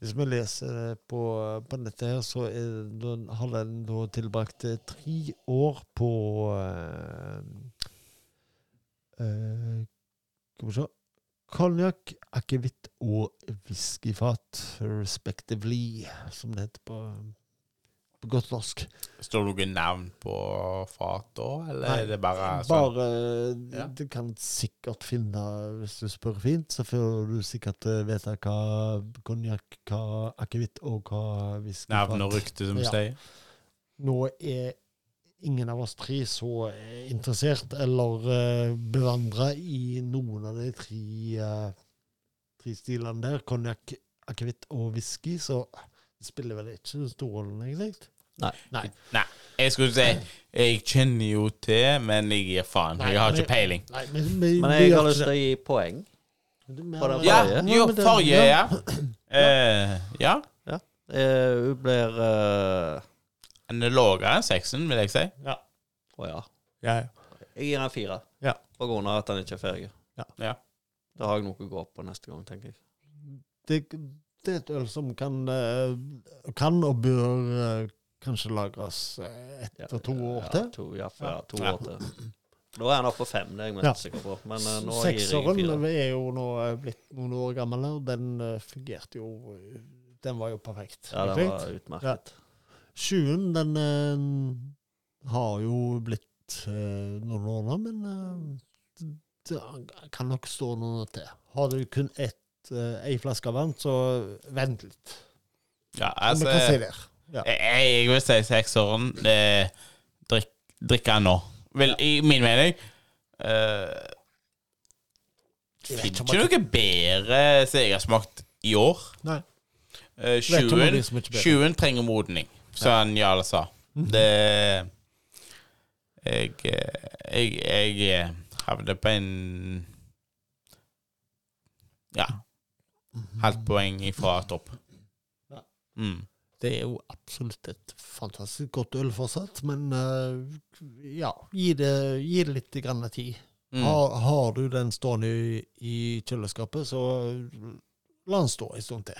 [SPEAKER 3] Hvis vi leser det på, på nettet her, så er, den- har den da tilbrakt eh, tre år på eh, Eh, Skal vi se Konjakk, akevitt og whiskyfat, respectively, som det heter på, på godt norsk.
[SPEAKER 2] Står det noe navn på fatet òg, eller
[SPEAKER 3] Nei,
[SPEAKER 2] er det bare sånn?
[SPEAKER 3] Bare
[SPEAKER 2] Ja.
[SPEAKER 3] Du kan sikkert finne, hvis du spør fint, så får du sikkert eh, vite hva konjakk, hva akevitt og hva
[SPEAKER 2] Navn og
[SPEAKER 3] whiskyfat
[SPEAKER 2] rykte, som vi
[SPEAKER 3] Ja.
[SPEAKER 2] sier.
[SPEAKER 3] Nå er ingen av oss tre så eh, interessert eller uh, bevandra i noen av de tre, eh, tre stilene der, konjakk, akevitt og whisky, så det spiller vel ikke den store rollen, egentlig.
[SPEAKER 2] Nei, jeg skulle si jeg kjenner jo til, men jeg gir faen.
[SPEAKER 3] Nei,
[SPEAKER 2] Jeg har ikke
[SPEAKER 3] men-
[SPEAKER 2] peiling.
[SPEAKER 3] Nei, men, men,
[SPEAKER 1] Men jeg har lyst til å gi poeng. på den
[SPEAKER 2] Ja,
[SPEAKER 1] forrige.
[SPEAKER 2] jo, forrige, ja. Eh, ja.
[SPEAKER 1] Eh, Hun blir eh,
[SPEAKER 2] Den er lavere enn seksen, vil jeg si.
[SPEAKER 1] Å ja.
[SPEAKER 3] Ja, ja.
[SPEAKER 1] Jeg gir han fire.
[SPEAKER 3] Ja.
[SPEAKER 1] På grunn av at han ikke er ferdig.
[SPEAKER 3] Ja.
[SPEAKER 2] Ja.
[SPEAKER 1] Da har jeg noe å gå på neste gang, tenker jeg.
[SPEAKER 3] det, det er et øl som kan, eh, kan og bør eh, kanskje lagres eh, ett
[SPEAKER 1] Ja,
[SPEAKER 3] og to år
[SPEAKER 1] ja,
[SPEAKER 3] til.
[SPEAKER 1] To, ja, for,
[SPEAKER 3] Ja.
[SPEAKER 1] ja, to
[SPEAKER 2] Ja.
[SPEAKER 1] år til. Da er han oppe på fem, det er jeg mest
[SPEAKER 3] Ja.
[SPEAKER 1] sikker på. Men eh, nå gir jeg
[SPEAKER 3] Sekseren
[SPEAKER 1] en fire.
[SPEAKER 3] er jo nå eh, blitt noen år gammel, og den eh, fungerte jo eh, Den var jo perfekt.
[SPEAKER 1] Ja, det
[SPEAKER 3] egentlig.
[SPEAKER 1] var utmerket.
[SPEAKER 3] Sjuen, den eh, har jo blitt eh, noen år nå, men eh, det kan nok stå noen år til. Har du kun ett, eh, ei flaske vann, så vent litt.
[SPEAKER 2] Ja, altså
[SPEAKER 3] Altså, vi kan si der. Ja.
[SPEAKER 2] Jeg, jeg vil si sekseren. Eh, drikk, drikke nå. Vel, i min mening eh,
[SPEAKER 3] Jeg
[SPEAKER 2] Finner
[SPEAKER 3] vet
[SPEAKER 2] ikke
[SPEAKER 3] om at-
[SPEAKER 2] noe bedre som jeg har smakt i år.
[SPEAKER 3] Nei.
[SPEAKER 2] Eh,
[SPEAKER 3] Vet om
[SPEAKER 2] Sjuen
[SPEAKER 3] noe som er ikke bedre. Mhm.
[SPEAKER 2] sjuen trenger modning, som Jarle sa. Det Jeg eh, Jeg, jeg havner på en Ja.
[SPEAKER 3] Mhm.
[SPEAKER 2] Halvt poeng ifra topp.
[SPEAKER 3] Ja.
[SPEAKER 2] Mm.
[SPEAKER 3] Det er jo absolutt et fantastisk godt øl fortsatt, men eh, ja, gi det, gi det litt grann tid.
[SPEAKER 2] Mm.
[SPEAKER 3] Har, har du den stående i, i kjøleskapet, så la den stå en stund til.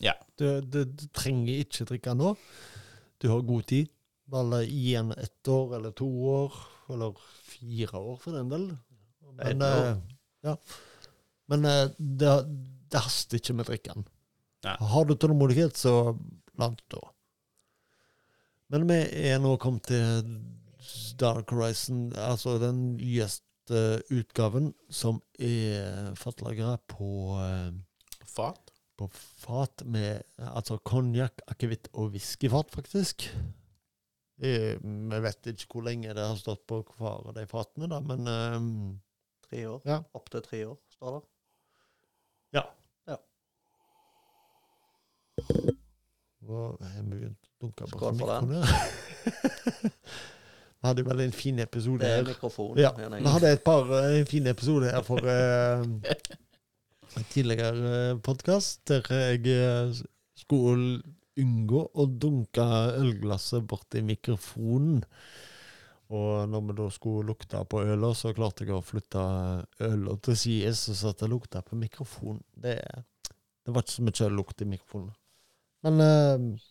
[SPEAKER 2] Ja.
[SPEAKER 3] Du, du, du trenger ikke drikke den nå. Du har god tid. Bare gi den ett år eller to år, eller fire år for den del. Men,
[SPEAKER 1] Ett år.
[SPEAKER 3] eh, ja. Men eh, det, det haster ikke med å drikke den.
[SPEAKER 2] Nei.
[SPEAKER 3] Har du tålmodighet, så la den stå. Men vi er nå kommet til Dark Horizon, altså den nyeste utgaven som er fatlagra på, eh,
[SPEAKER 2] Fat?
[SPEAKER 3] på fat med altså konjakk, akevitt og whiskyfat, faktisk. Eh, Vi vet ikke hvor lenge det har stått på hver av de fatene, da, men eh,
[SPEAKER 1] Tre år.
[SPEAKER 3] Ja.
[SPEAKER 1] Opptil tre år, står det.
[SPEAKER 3] Og jeg begynte å dunke på
[SPEAKER 1] Skål for den.
[SPEAKER 3] mikrofonen. her. Vi hadde vel en fin episode
[SPEAKER 1] Det er
[SPEAKER 3] her.
[SPEAKER 1] mikrofon.
[SPEAKER 3] Ja,
[SPEAKER 1] igjen, jeg.
[SPEAKER 3] vi hadde et par eh, fine episoder her for eh, en tidligere podkast, der jeg eh, skulle unngå å dunke ølglasset borti mikrofonen. Og når vi da skulle lukte på øla, så klarte jeg å flytte øla til sides, og så at det lukta på mikrofonen. Det, det var ikke så mye lukt i mikrofonen. Men eh,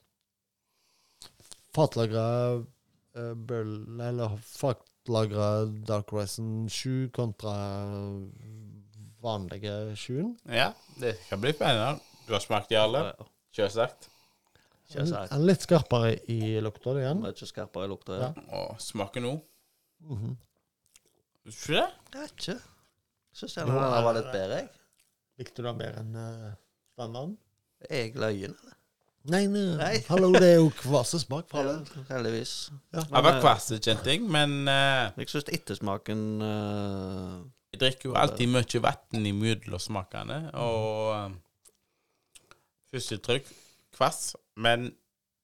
[SPEAKER 3] fatlagra eh, Bøll, eller fatlagra Dark Horizon 7 kontra vanlige 7-en.
[SPEAKER 2] Ja, det skal bli spennende. Du har smakt, Jarle?
[SPEAKER 1] Ja,
[SPEAKER 2] Selvsagt.
[SPEAKER 1] Ikke sant.
[SPEAKER 3] Litt skarpere i lukta det igjen.
[SPEAKER 1] Mye skarpere i lukta. Ja.
[SPEAKER 3] Ja.
[SPEAKER 2] Og smaker nå.
[SPEAKER 3] Mhm.
[SPEAKER 2] Ikke det?
[SPEAKER 1] Jeg vet ikke. Syns jeg
[SPEAKER 3] Jo,
[SPEAKER 1] den her var
[SPEAKER 3] det-
[SPEAKER 1] litt bedre, jeg.
[SPEAKER 3] Likte du den bedre enn eh, standarden?
[SPEAKER 1] Er jeg løyen, eller?
[SPEAKER 3] Nei, nei.
[SPEAKER 1] Nei.
[SPEAKER 3] Hallo, det er jo kvasse smak fra den.
[SPEAKER 1] Ja, heldigvis.
[SPEAKER 3] Ja.
[SPEAKER 2] Jeg var kvass, kjente jeg, men eh,
[SPEAKER 1] Jeg syns ettersmaken eh,
[SPEAKER 2] jeg drikker jo alltid mye vann imellom smakene, og eh, førsteinntrykk kvass, men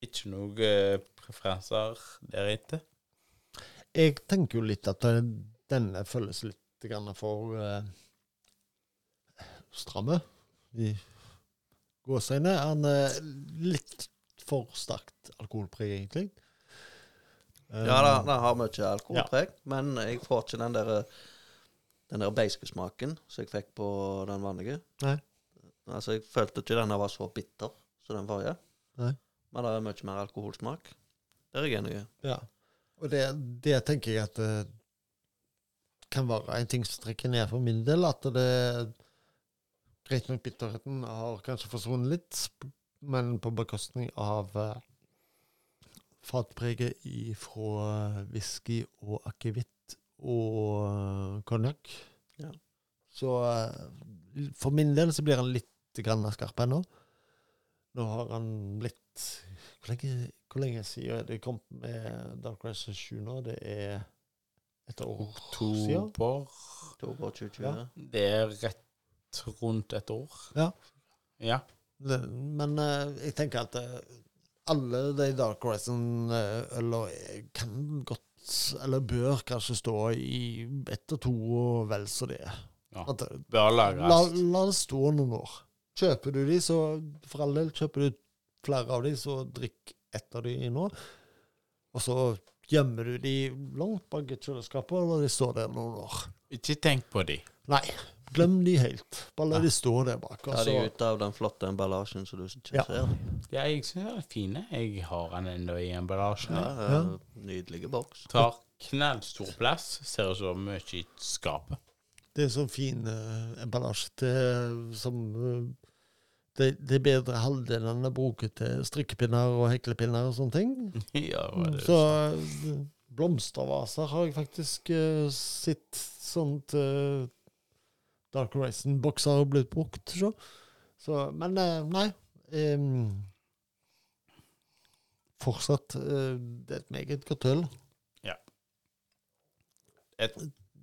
[SPEAKER 2] ikke noen eh, preferanser deretter.
[SPEAKER 3] Jeg tenker jo litt at eh, denne føles litt grann for eh, stramme i gåseøynene. Han er litt for sterkt alkoholpreg, egentlig. Eh,
[SPEAKER 1] Ja, da, den har mye alkoholpreg, men jeg får ikke den der Den der beiskesmaken som jeg fikk på den vanlige.
[SPEAKER 3] Nei.
[SPEAKER 1] Altså, jeg følte ikke denne var så bitter som den forrige.
[SPEAKER 3] Nei.
[SPEAKER 1] Men det er mye mer alkoholsmak. Der er jeg enig.
[SPEAKER 3] Ja. Og det, det tenker jeg at eh, kan være en ting som trekker ned for min del. At det Greit nok bitterheten har kanskje forsvunnet litt, sp- men på bekostning av eh, fatpreget fra eh, whisky og akevitt og konjakk.
[SPEAKER 1] Ja.
[SPEAKER 3] Så eh, for min del så blir han litt grann skarp ennå. Nå har han blitt Hvor lenge, hvor lenge siden er det kommet med Dark Race 7 nå? Det er et år siden.
[SPEAKER 2] Oktober
[SPEAKER 1] Oktober 2020.
[SPEAKER 3] Ja.
[SPEAKER 2] Det er rett rundt et år.
[SPEAKER 3] Ja.
[SPEAKER 2] Ja.
[SPEAKER 3] Det, men eh, jeg tenker at eh, alle de Dark Horizon-øla eh, kan godt, eller bør kanskje stå i ett og to og vel så det.
[SPEAKER 2] Ja.
[SPEAKER 3] At, eh,
[SPEAKER 2] Bør
[SPEAKER 3] la,
[SPEAKER 2] lagres.
[SPEAKER 3] la det stå noen år. Kjøper du de, så for all del, kjøper du flere av de, så drikk ett av de nå. Og så gjemmer du de langt bak i kjøleskapet, og la de stå der noen år.
[SPEAKER 2] Ikke tenk på de.
[SPEAKER 3] Nei, glem de helt. Bare la de stå der bak. Og
[SPEAKER 1] Ta de
[SPEAKER 3] så,
[SPEAKER 1] ut av den flotte emballasjen som du ikke
[SPEAKER 3] Ja.
[SPEAKER 1] ser.
[SPEAKER 2] Ja, jeg syns den er fin. Jeg har den ennå i emballasjen.
[SPEAKER 1] Ja,
[SPEAKER 3] Ja.
[SPEAKER 1] eh, Nydelige boks.
[SPEAKER 2] Tar knallstor plass. Ser ut som mye i skapet.
[SPEAKER 3] Det er sånn fin eh, emballasje til som eh, det, det er bedre halvdelene bruker til strikkepinner og heklepinner og sånne ting.
[SPEAKER 2] Mm. ja, hva er det?
[SPEAKER 3] Så eh, blomstervaser har jeg faktisk eh, sett sånt eh, Dark Horizon-bokser har blitt brukt. Så. Så, men eh, nei em, Fortsatt eh, det er et meget godt øl.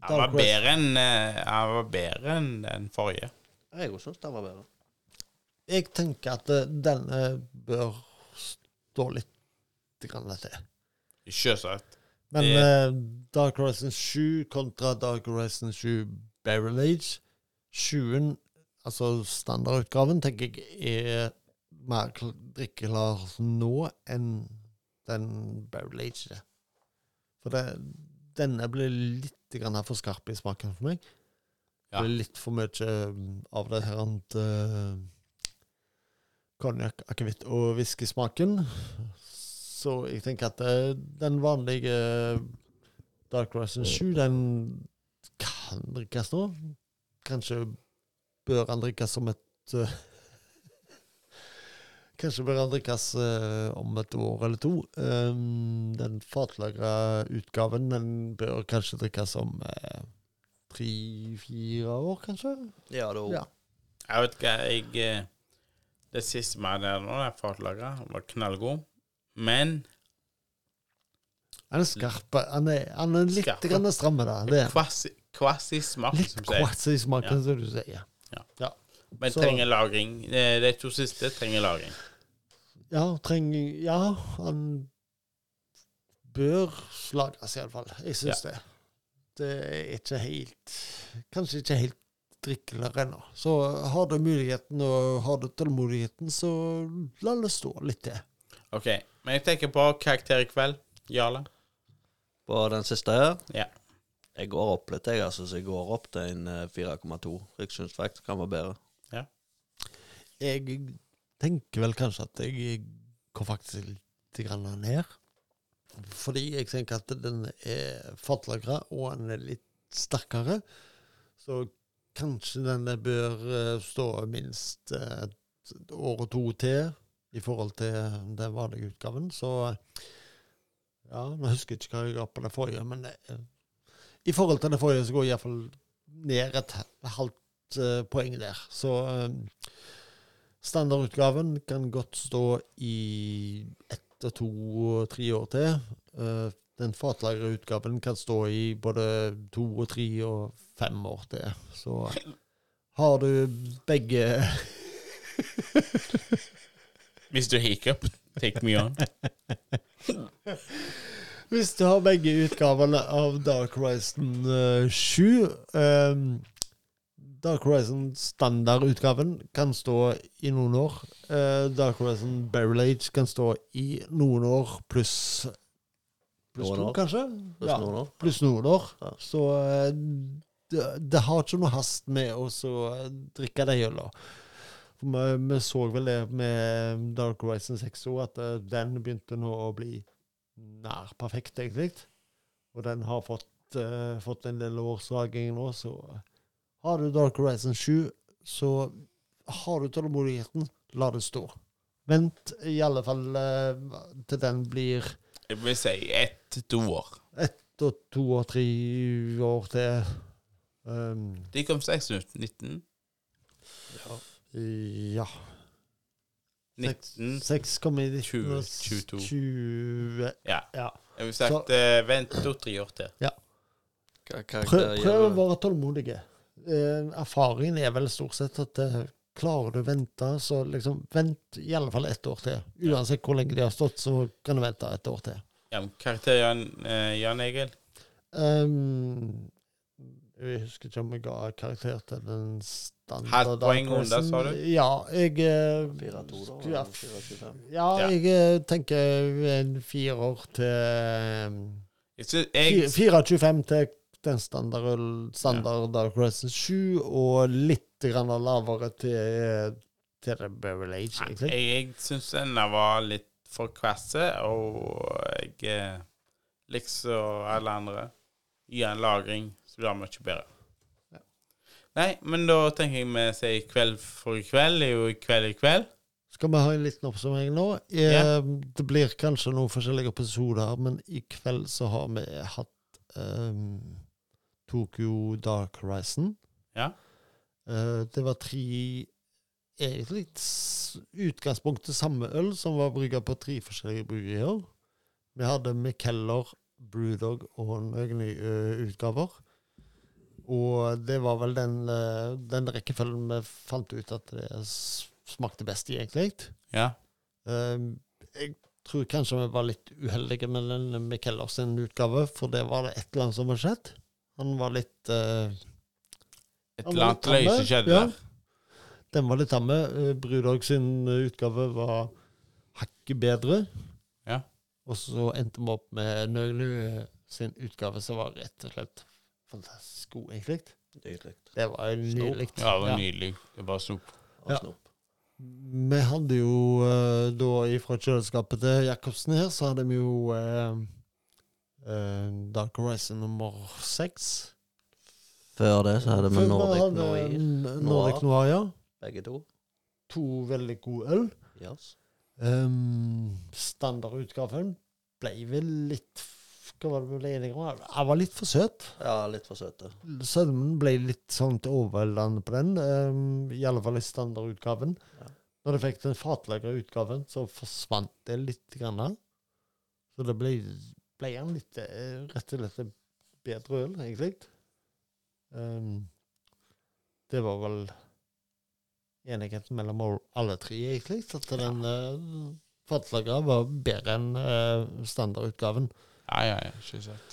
[SPEAKER 2] Han var bedre enn eh, Han var bedre enn den forrige.
[SPEAKER 1] Jeg òg syns den var bedre.
[SPEAKER 3] Jeg tenker at eh, denne bør stå litt grann til.
[SPEAKER 2] Sjølsagt.
[SPEAKER 3] Men
[SPEAKER 2] Det-
[SPEAKER 3] eh, Dark Horizon 7 kontra Dark Horizon 7 Barrel Age 7-en, altså standardutgaven, tenker jeg er mer kl- drikkeklar nå enn den Barrel Age. er. For det, denne ble litt grann for skarp i smaken for meg.
[SPEAKER 2] Ja.
[SPEAKER 3] Det ble litt for mye um, av det her annet uh, konjakk, akevitt og whiskysmaken. Så jeg tenker at eh, den vanlige eh, Dark Horizon 7, den kan drikkes nå. Kanskje bør han drikkes som et eh, Kanskje bør han drikkes eh, om et år eller to. Um, den fatlagra utgaven den bør kanskje drikkes om eh, tre-fire år, kanskje?
[SPEAKER 1] Ja, det er
[SPEAKER 3] Ja.
[SPEAKER 2] Jeg vet ikke, jeg eh, Det siste vi hadde her nå, den fatlagra, var knallgod. Men
[SPEAKER 3] Han er skarp. Han er, han er litt
[SPEAKER 2] Skarp.
[SPEAKER 3] grann stramme, da. Det er
[SPEAKER 2] kvass kvass i smaken,
[SPEAKER 3] litt
[SPEAKER 2] som sier.
[SPEAKER 3] kvass i smaken,
[SPEAKER 2] Ja.
[SPEAKER 3] som du sier.
[SPEAKER 2] Men
[SPEAKER 3] så-
[SPEAKER 2] trenger lagring. Eh, De to siste trenger lagring.
[SPEAKER 3] Ja, trenger Ja, han bør lagres, iallfall. Jeg syns det. Det er ikke helt Kanskje ikke helt drikkelig ennå. Så har du muligheten og har du tålmodigheten, så la det stå litt til.
[SPEAKER 2] OK. Men jeg tenker på karakter i kveld. Jarle.
[SPEAKER 1] På den siste her
[SPEAKER 2] Ja.
[SPEAKER 1] Jeg går opp litt, jeg, altså. Så jeg går opp til en eh, 4,2. Jeg syns faktisk den var bedre.
[SPEAKER 3] Jeg tenker vel kanskje at jeg går faktisk litt grann ned. Fordi jeg tenker at den er fatlagra, og den er litt sterkere. Så kanskje denne bør eh, stå minst eh, et år og to til i forhold til den vanlige utgaven. Så ja, nå husker jeg ikke hva jeg ga på det forrige, men eh, I forhold til det forrige så går jeg iallfall ned et halvt eh, poeng der. Så eh, standardutgaven kan godt stå i ett og to og tre år til. Eh, den fatlagre utgaven kan stå i både to og tre og fem år til. Så har du begge
[SPEAKER 4] Mr. Hiccup, take me on.
[SPEAKER 3] Hvis du har begge utgavene av Dark Horizon eh, 7 eh, Dark Horizon standardutgaven kan stå i noen år. Eh, Dark Horizon Barrel Age kan stå i noen år pluss Pluss
[SPEAKER 1] Noen
[SPEAKER 3] to,
[SPEAKER 1] år.
[SPEAKER 3] kanskje?
[SPEAKER 1] Pluss
[SPEAKER 3] Ja,
[SPEAKER 1] noen år.
[SPEAKER 3] pluss noen år.
[SPEAKER 1] Ja.
[SPEAKER 3] Så eh, det, det har ikke noe hast med å så, eh, drikke de øla. For Vi, vi så vel det med Dark Horizon 6 òg, at eh, den begynte nå å bli nær perfekt, egentlig. Og den har fått, eh, fått en del årsaking nå, så eh, har du Dark Horizon 7, så har du tålmodigheten, la det stå. Vent i alle fall eh, til den blir
[SPEAKER 2] Jeg vil si ett-to år.
[SPEAKER 3] ett og to og tre år til. Um,
[SPEAKER 2] De kom 6 ut. 19?
[SPEAKER 3] ja. Seks-
[SPEAKER 2] 19?
[SPEAKER 3] Seks kom i
[SPEAKER 2] 20, 22.
[SPEAKER 3] 20.
[SPEAKER 2] Ja.
[SPEAKER 3] Ja.
[SPEAKER 2] Jeg vil sagt eh, vent to-tre år til.
[SPEAKER 1] Hva
[SPEAKER 3] Prøv,
[SPEAKER 1] karakter
[SPEAKER 3] prøv å
[SPEAKER 1] gir du?
[SPEAKER 3] være tålmodige. Eh, erfaringen er vel stort sett at eh, klarer du å vente, så liksom vent i alle fall ett år til. Uansett hvor lenge de har stått, så kan du vente et år til.
[SPEAKER 2] Ja, men karakter Jan, eh, Jan Egil?
[SPEAKER 3] Um, jeg husker ikke om jeg ga karakter til den standard
[SPEAKER 2] Halvt poeng under, sa du?
[SPEAKER 3] Ja, jeg eh,
[SPEAKER 1] 4-2 da,
[SPEAKER 3] skulle-
[SPEAKER 1] eller 4-25?
[SPEAKER 3] Ja,
[SPEAKER 2] Ja.
[SPEAKER 3] jeg eh, tenker en firer til
[SPEAKER 2] Jeg synes,
[SPEAKER 3] fi-
[SPEAKER 2] jeg,
[SPEAKER 3] 4,25 til den standard, standard Dark Horizon 7, og litt grann lavere til, eh, til The Barrel Age, egentlig.
[SPEAKER 2] jeg, jeg syns denne var litt for kvasse, og jeg eh, liksom alle andre Gi en lagring, så blir det mye bedre. Nei, men da tenker jeg vi sier kveld for kveld er jo kveld i kveld.
[SPEAKER 3] Skal vi ha en liten oppsummering nå? Eh,
[SPEAKER 2] Ja.
[SPEAKER 3] Det blir kanskje noen forskjellige episoder, men i kveld så har vi hatt ehm, Tokyo Dark Horizon.
[SPEAKER 2] Ja.
[SPEAKER 3] Eh, det var tre egentlig s- utgangspunktet samme øl som var brygga på tre forskjellige bryggerier. Vi hadde McKellar, Brewdog og noen nye eh, utgaver. Og det var vel den, eh, den rekkefølgen vi fant ut at det s- smakte best i, egentlig.
[SPEAKER 2] Ja.
[SPEAKER 3] Eh, Jeg tror kanskje vi var litt uheldige med den Mikeller sin utgave, for det var det et eller annet som var skjedd. Han var litt eh,
[SPEAKER 2] Et
[SPEAKER 3] Han
[SPEAKER 2] eller
[SPEAKER 3] var
[SPEAKER 2] annet
[SPEAKER 3] litt
[SPEAKER 2] løy som
[SPEAKER 3] tamme,
[SPEAKER 2] skjedde
[SPEAKER 3] ja.
[SPEAKER 2] der.
[SPEAKER 3] Den var litt tamme. Eh, Brudog sin eh, utgave var hakket bedre.
[SPEAKER 2] Ja.
[SPEAKER 3] Og så endte vi opp med Nøglu eh, sin utgave, som var rett og slett fantastisk god, egentlig.
[SPEAKER 1] Nydelig.
[SPEAKER 3] Det var nydelig.
[SPEAKER 4] Ja, det var nydelig. Det var snop.
[SPEAKER 1] Og
[SPEAKER 3] Ja.
[SPEAKER 1] snop.
[SPEAKER 3] Vi hadde jo eh, da ifra kjøleskapet til Jacobsen her, så hadde vi jo eh, eh, Dark Horizon nummer seks.
[SPEAKER 1] Før det så hadde vi
[SPEAKER 3] Før eh,
[SPEAKER 1] Nordic
[SPEAKER 3] hadde
[SPEAKER 1] Noir,
[SPEAKER 3] N- Nordic Noir, ja.
[SPEAKER 1] begge to.
[SPEAKER 3] To veldig gode øl.
[SPEAKER 1] Yes.
[SPEAKER 3] Um, standardutgaven ble vel litt f- Hva var det vi ble enige om? Jeg var litt for søt.
[SPEAKER 1] Ja, litt for søte.
[SPEAKER 3] Sødmen ble litt sånn til overveldende på den, um, i alle fall i standardutgaven.
[SPEAKER 1] Ja.
[SPEAKER 3] Når jeg fikk den fatlagra utgaven, så forsvant det litt. Grann. Så det ble, ble en litt, eh, rett og slett en bedre øl, egentlig. Um, det var vel enigheten mellom all- alle tre, egentlig, at den uh, fatlagra var bedre enn eh, standardutgaven.
[SPEAKER 2] Ja, ja, ja. Ikke sant.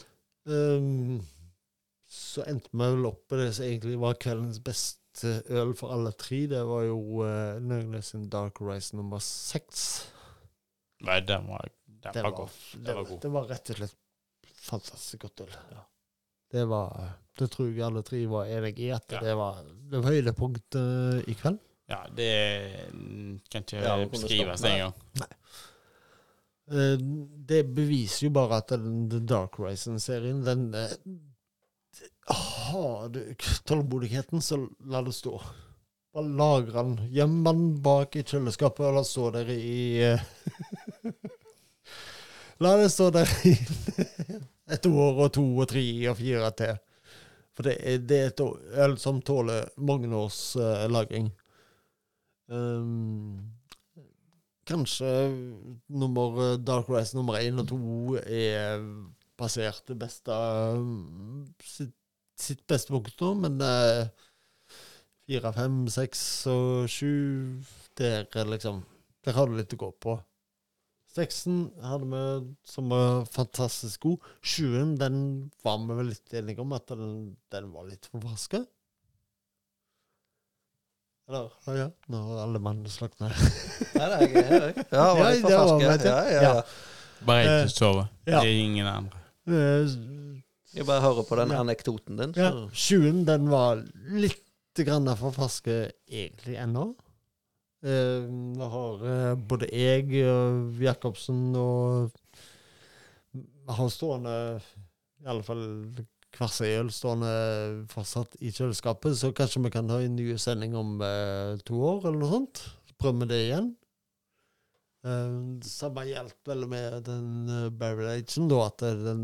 [SPEAKER 3] Ehm, så endte vi vel opp med det som egentlig var kveldens beste øl for alle tre. Det var jo uh, Nøgnes sin Dark Rise nummer seks.
[SPEAKER 2] Nei, den var, den
[SPEAKER 3] Det
[SPEAKER 2] var
[SPEAKER 3] var-
[SPEAKER 2] god.
[SPEAKER 3] Det,
[SPEAKER 2] var god.
[SPEAKER 3] det var rett og slett fantastisk godt øl. Det var eh, Det tror jeg alle tre var enige i, at
[SPEAKER 2] Ja.
[SPEAKER 3] det var det var høydepunktet i kveld.
[SPEAKER 2] Ja, det mm, kan ikke
[SPEAKER 1] Ja, det kunne
[SPEAKER 2] beskrives
[SPEAKER 1] stoppe der.
[SPEAKER 2] engang.
[SPEAKER 3] Eh, det beviser jo bare at den The Dark Horizon-serien, den eh, Har du k- tålmodigheten, så la det stå. Bare lagre den. Gjem den bak i kjøleskapet, og la det stå der i eh, La det stå der i Et år og to og tre og fire til. For det er, det er et å- øl som tåler mange års eh, lagring. Ehm, kanskje eh, nummer, Dark Rise nummer én og to er passert det beste eh, sitt, sitt beste punkt nå, men eh, fire, fem, seks og sju Der er liksom Der har du litt å gå på. Seksen hadde vi som var fantastisk god. Sjuen, den var vi vel litt enige om at den, den var litt for vaska. Eller å ja, nå har alle mannene slakna.
[SPEAKER 1] Nei, det er jeg er jeg. Ja, var litt
[SPEAKER 3] Ja, det var
[SPEAKER 1] for
[SPEAKER 3] meg,
[SPEAKER 1] ferske. Ja, ja,
[SPEAKER 3] ja.
[SPEAKER 1] ja.
[SPEAKER 4] Bare
[SPEAKER 3] Eh,
[SPEAKER 4] jeg som sover.
[SPEAKER 3] ja.
[SPEAKER 4] Det er ingen andre.
[SPEAKER 3] Eh,
[SPEAKER 1] Jeg bare hører på den anekdoten din.
[SPEAKER 3] Ja,
[SPEAKER 1] Så.
[SPEAKER 3] sjuen den var litt grann for ferske egentlig ennå. Eh, Nå har eh, både jeg, eh, Jacobsen og vi har stående i alle fall hver sin øl stående fortsatt i kjøleskapet, så kanskje vi kan ha en ny sending om eh, to år eller noe sånt. Prøver vi det igjen. Eh, samme hjelp vel med den eh, Barrel Agen, da, at eh, den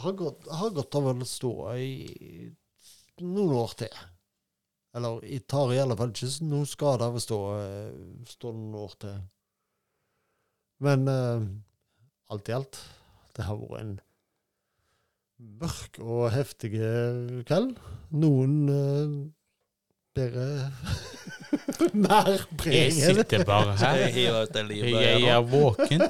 [SPEAKER 3] har gått, har gått av å stå i noen år til. Eller jeg tar i alle fall ikke så noen skade av å stå, eh, stå noen år til. Men eh, alt i alt, det har vært en mørk og heftig eh, kveld. Noen eh, bedre Mer
[SPEAKER 4] Jeg
[SPEAKER 3] preg enn
[SPEAKER 4] sitter bare her.
[SPEAKER 1] Jeg hiver ut den
[SPEAKER 4] Jeg
[SPEAKER 1] livbøya
[SPEAKER 4] er
[SPEAKER 1] nå.
[SPEAKER 4] våken.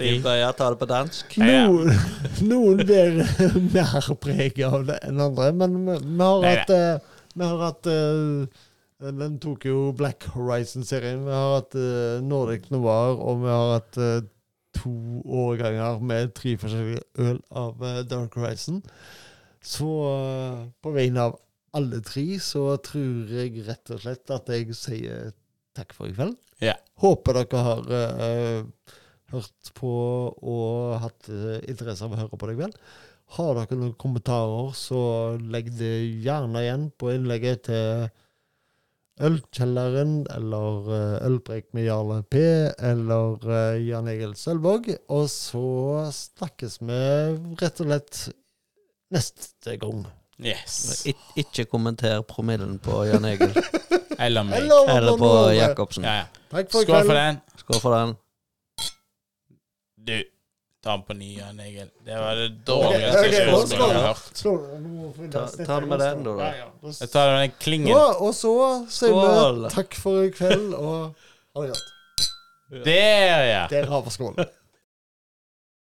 [SPEAKER 1] Livbøya, ta det på dansk.
[SPEAKER 3] Noen, noen blir mer preget av det enn andre, men vi vi har
[SPEAKER 4] Nei,
[SPEAKER 3] hatt eh, Vi har hatt eh, Den tok jo Black Horizon-serien. Vi har hatt eh, Nordic Noir, og vi har hatt eh, to årganger med tre forskjellige øl av eh, Dark Horizon. Så eh, på vegne av alle tre så tror jeg rett og slett at jeg sier takk for i kveld.
[SPEAKER 4] Ja.
[SPEAKER 3] Håper dere har eh, hørt på og hatt eh, interesse av å høre på deg vel. Har dere noen kommentarer, så legg det gjerne igjen på innlegget til Ølkjelleren eller eh, Ølpreik med Jarl P eller eh, Jan Egil Sølvåg. Og så snakkes vi rett og slett neste gang.
[SPEAKER 4] Yes.
[SPEAKER 1] Ik ikke kommenter promillen på Jan Egil
[SPEAKER 4] Eller meg.
[SPEAKER 3] Eller,
[SPEAKER 1] eller på
[SPEAKER 3] noe.
[SPEAKER 1] Jacobsen.
[SPEAKER 4] Ja, ja.
[SPEAKER 3] Takk for i
[SPEAKER 4] Skål for
[SPEAKER 3] kveld.
[SPEAKER 4] den.
[SPEAKER 1] Skål for den.
[SPEAKER 4] Du, ta den på ny, Jan Egil. Det var det
[SPEAKER 3] Ok, ok,
[SPEAKER 4] dårligste
[SPEAKER 3] nå
[SPEAKER 4] skålspillet jeg
[SPEAKER 3] skal
[SPEAKER 4] har
[SPEAKER 3] vi.
[SPEAKER 4] hørt.
[SPEAKER 3] Skål. Nå får vi
[SPEAKER 1] Ta,
[SPEAKER 3] neste
[SPEAKER 1] ta det med
[SPEAKER 3] gang,
[SPEAKER 1] den,
[SPEAKER 3] så.
[SPEAKER 1] da.
[SPEAKER 4] Jeg tar den klingen.
[SPEAKER 3] Og, og så sier
[SPEAKER 1] Skål.
[SPEAKER 3] vi takk for i kveld, og ha det godt.
[SPEAKER 4] Der, ja.
[SPEAKER 3] Dere har for skålen.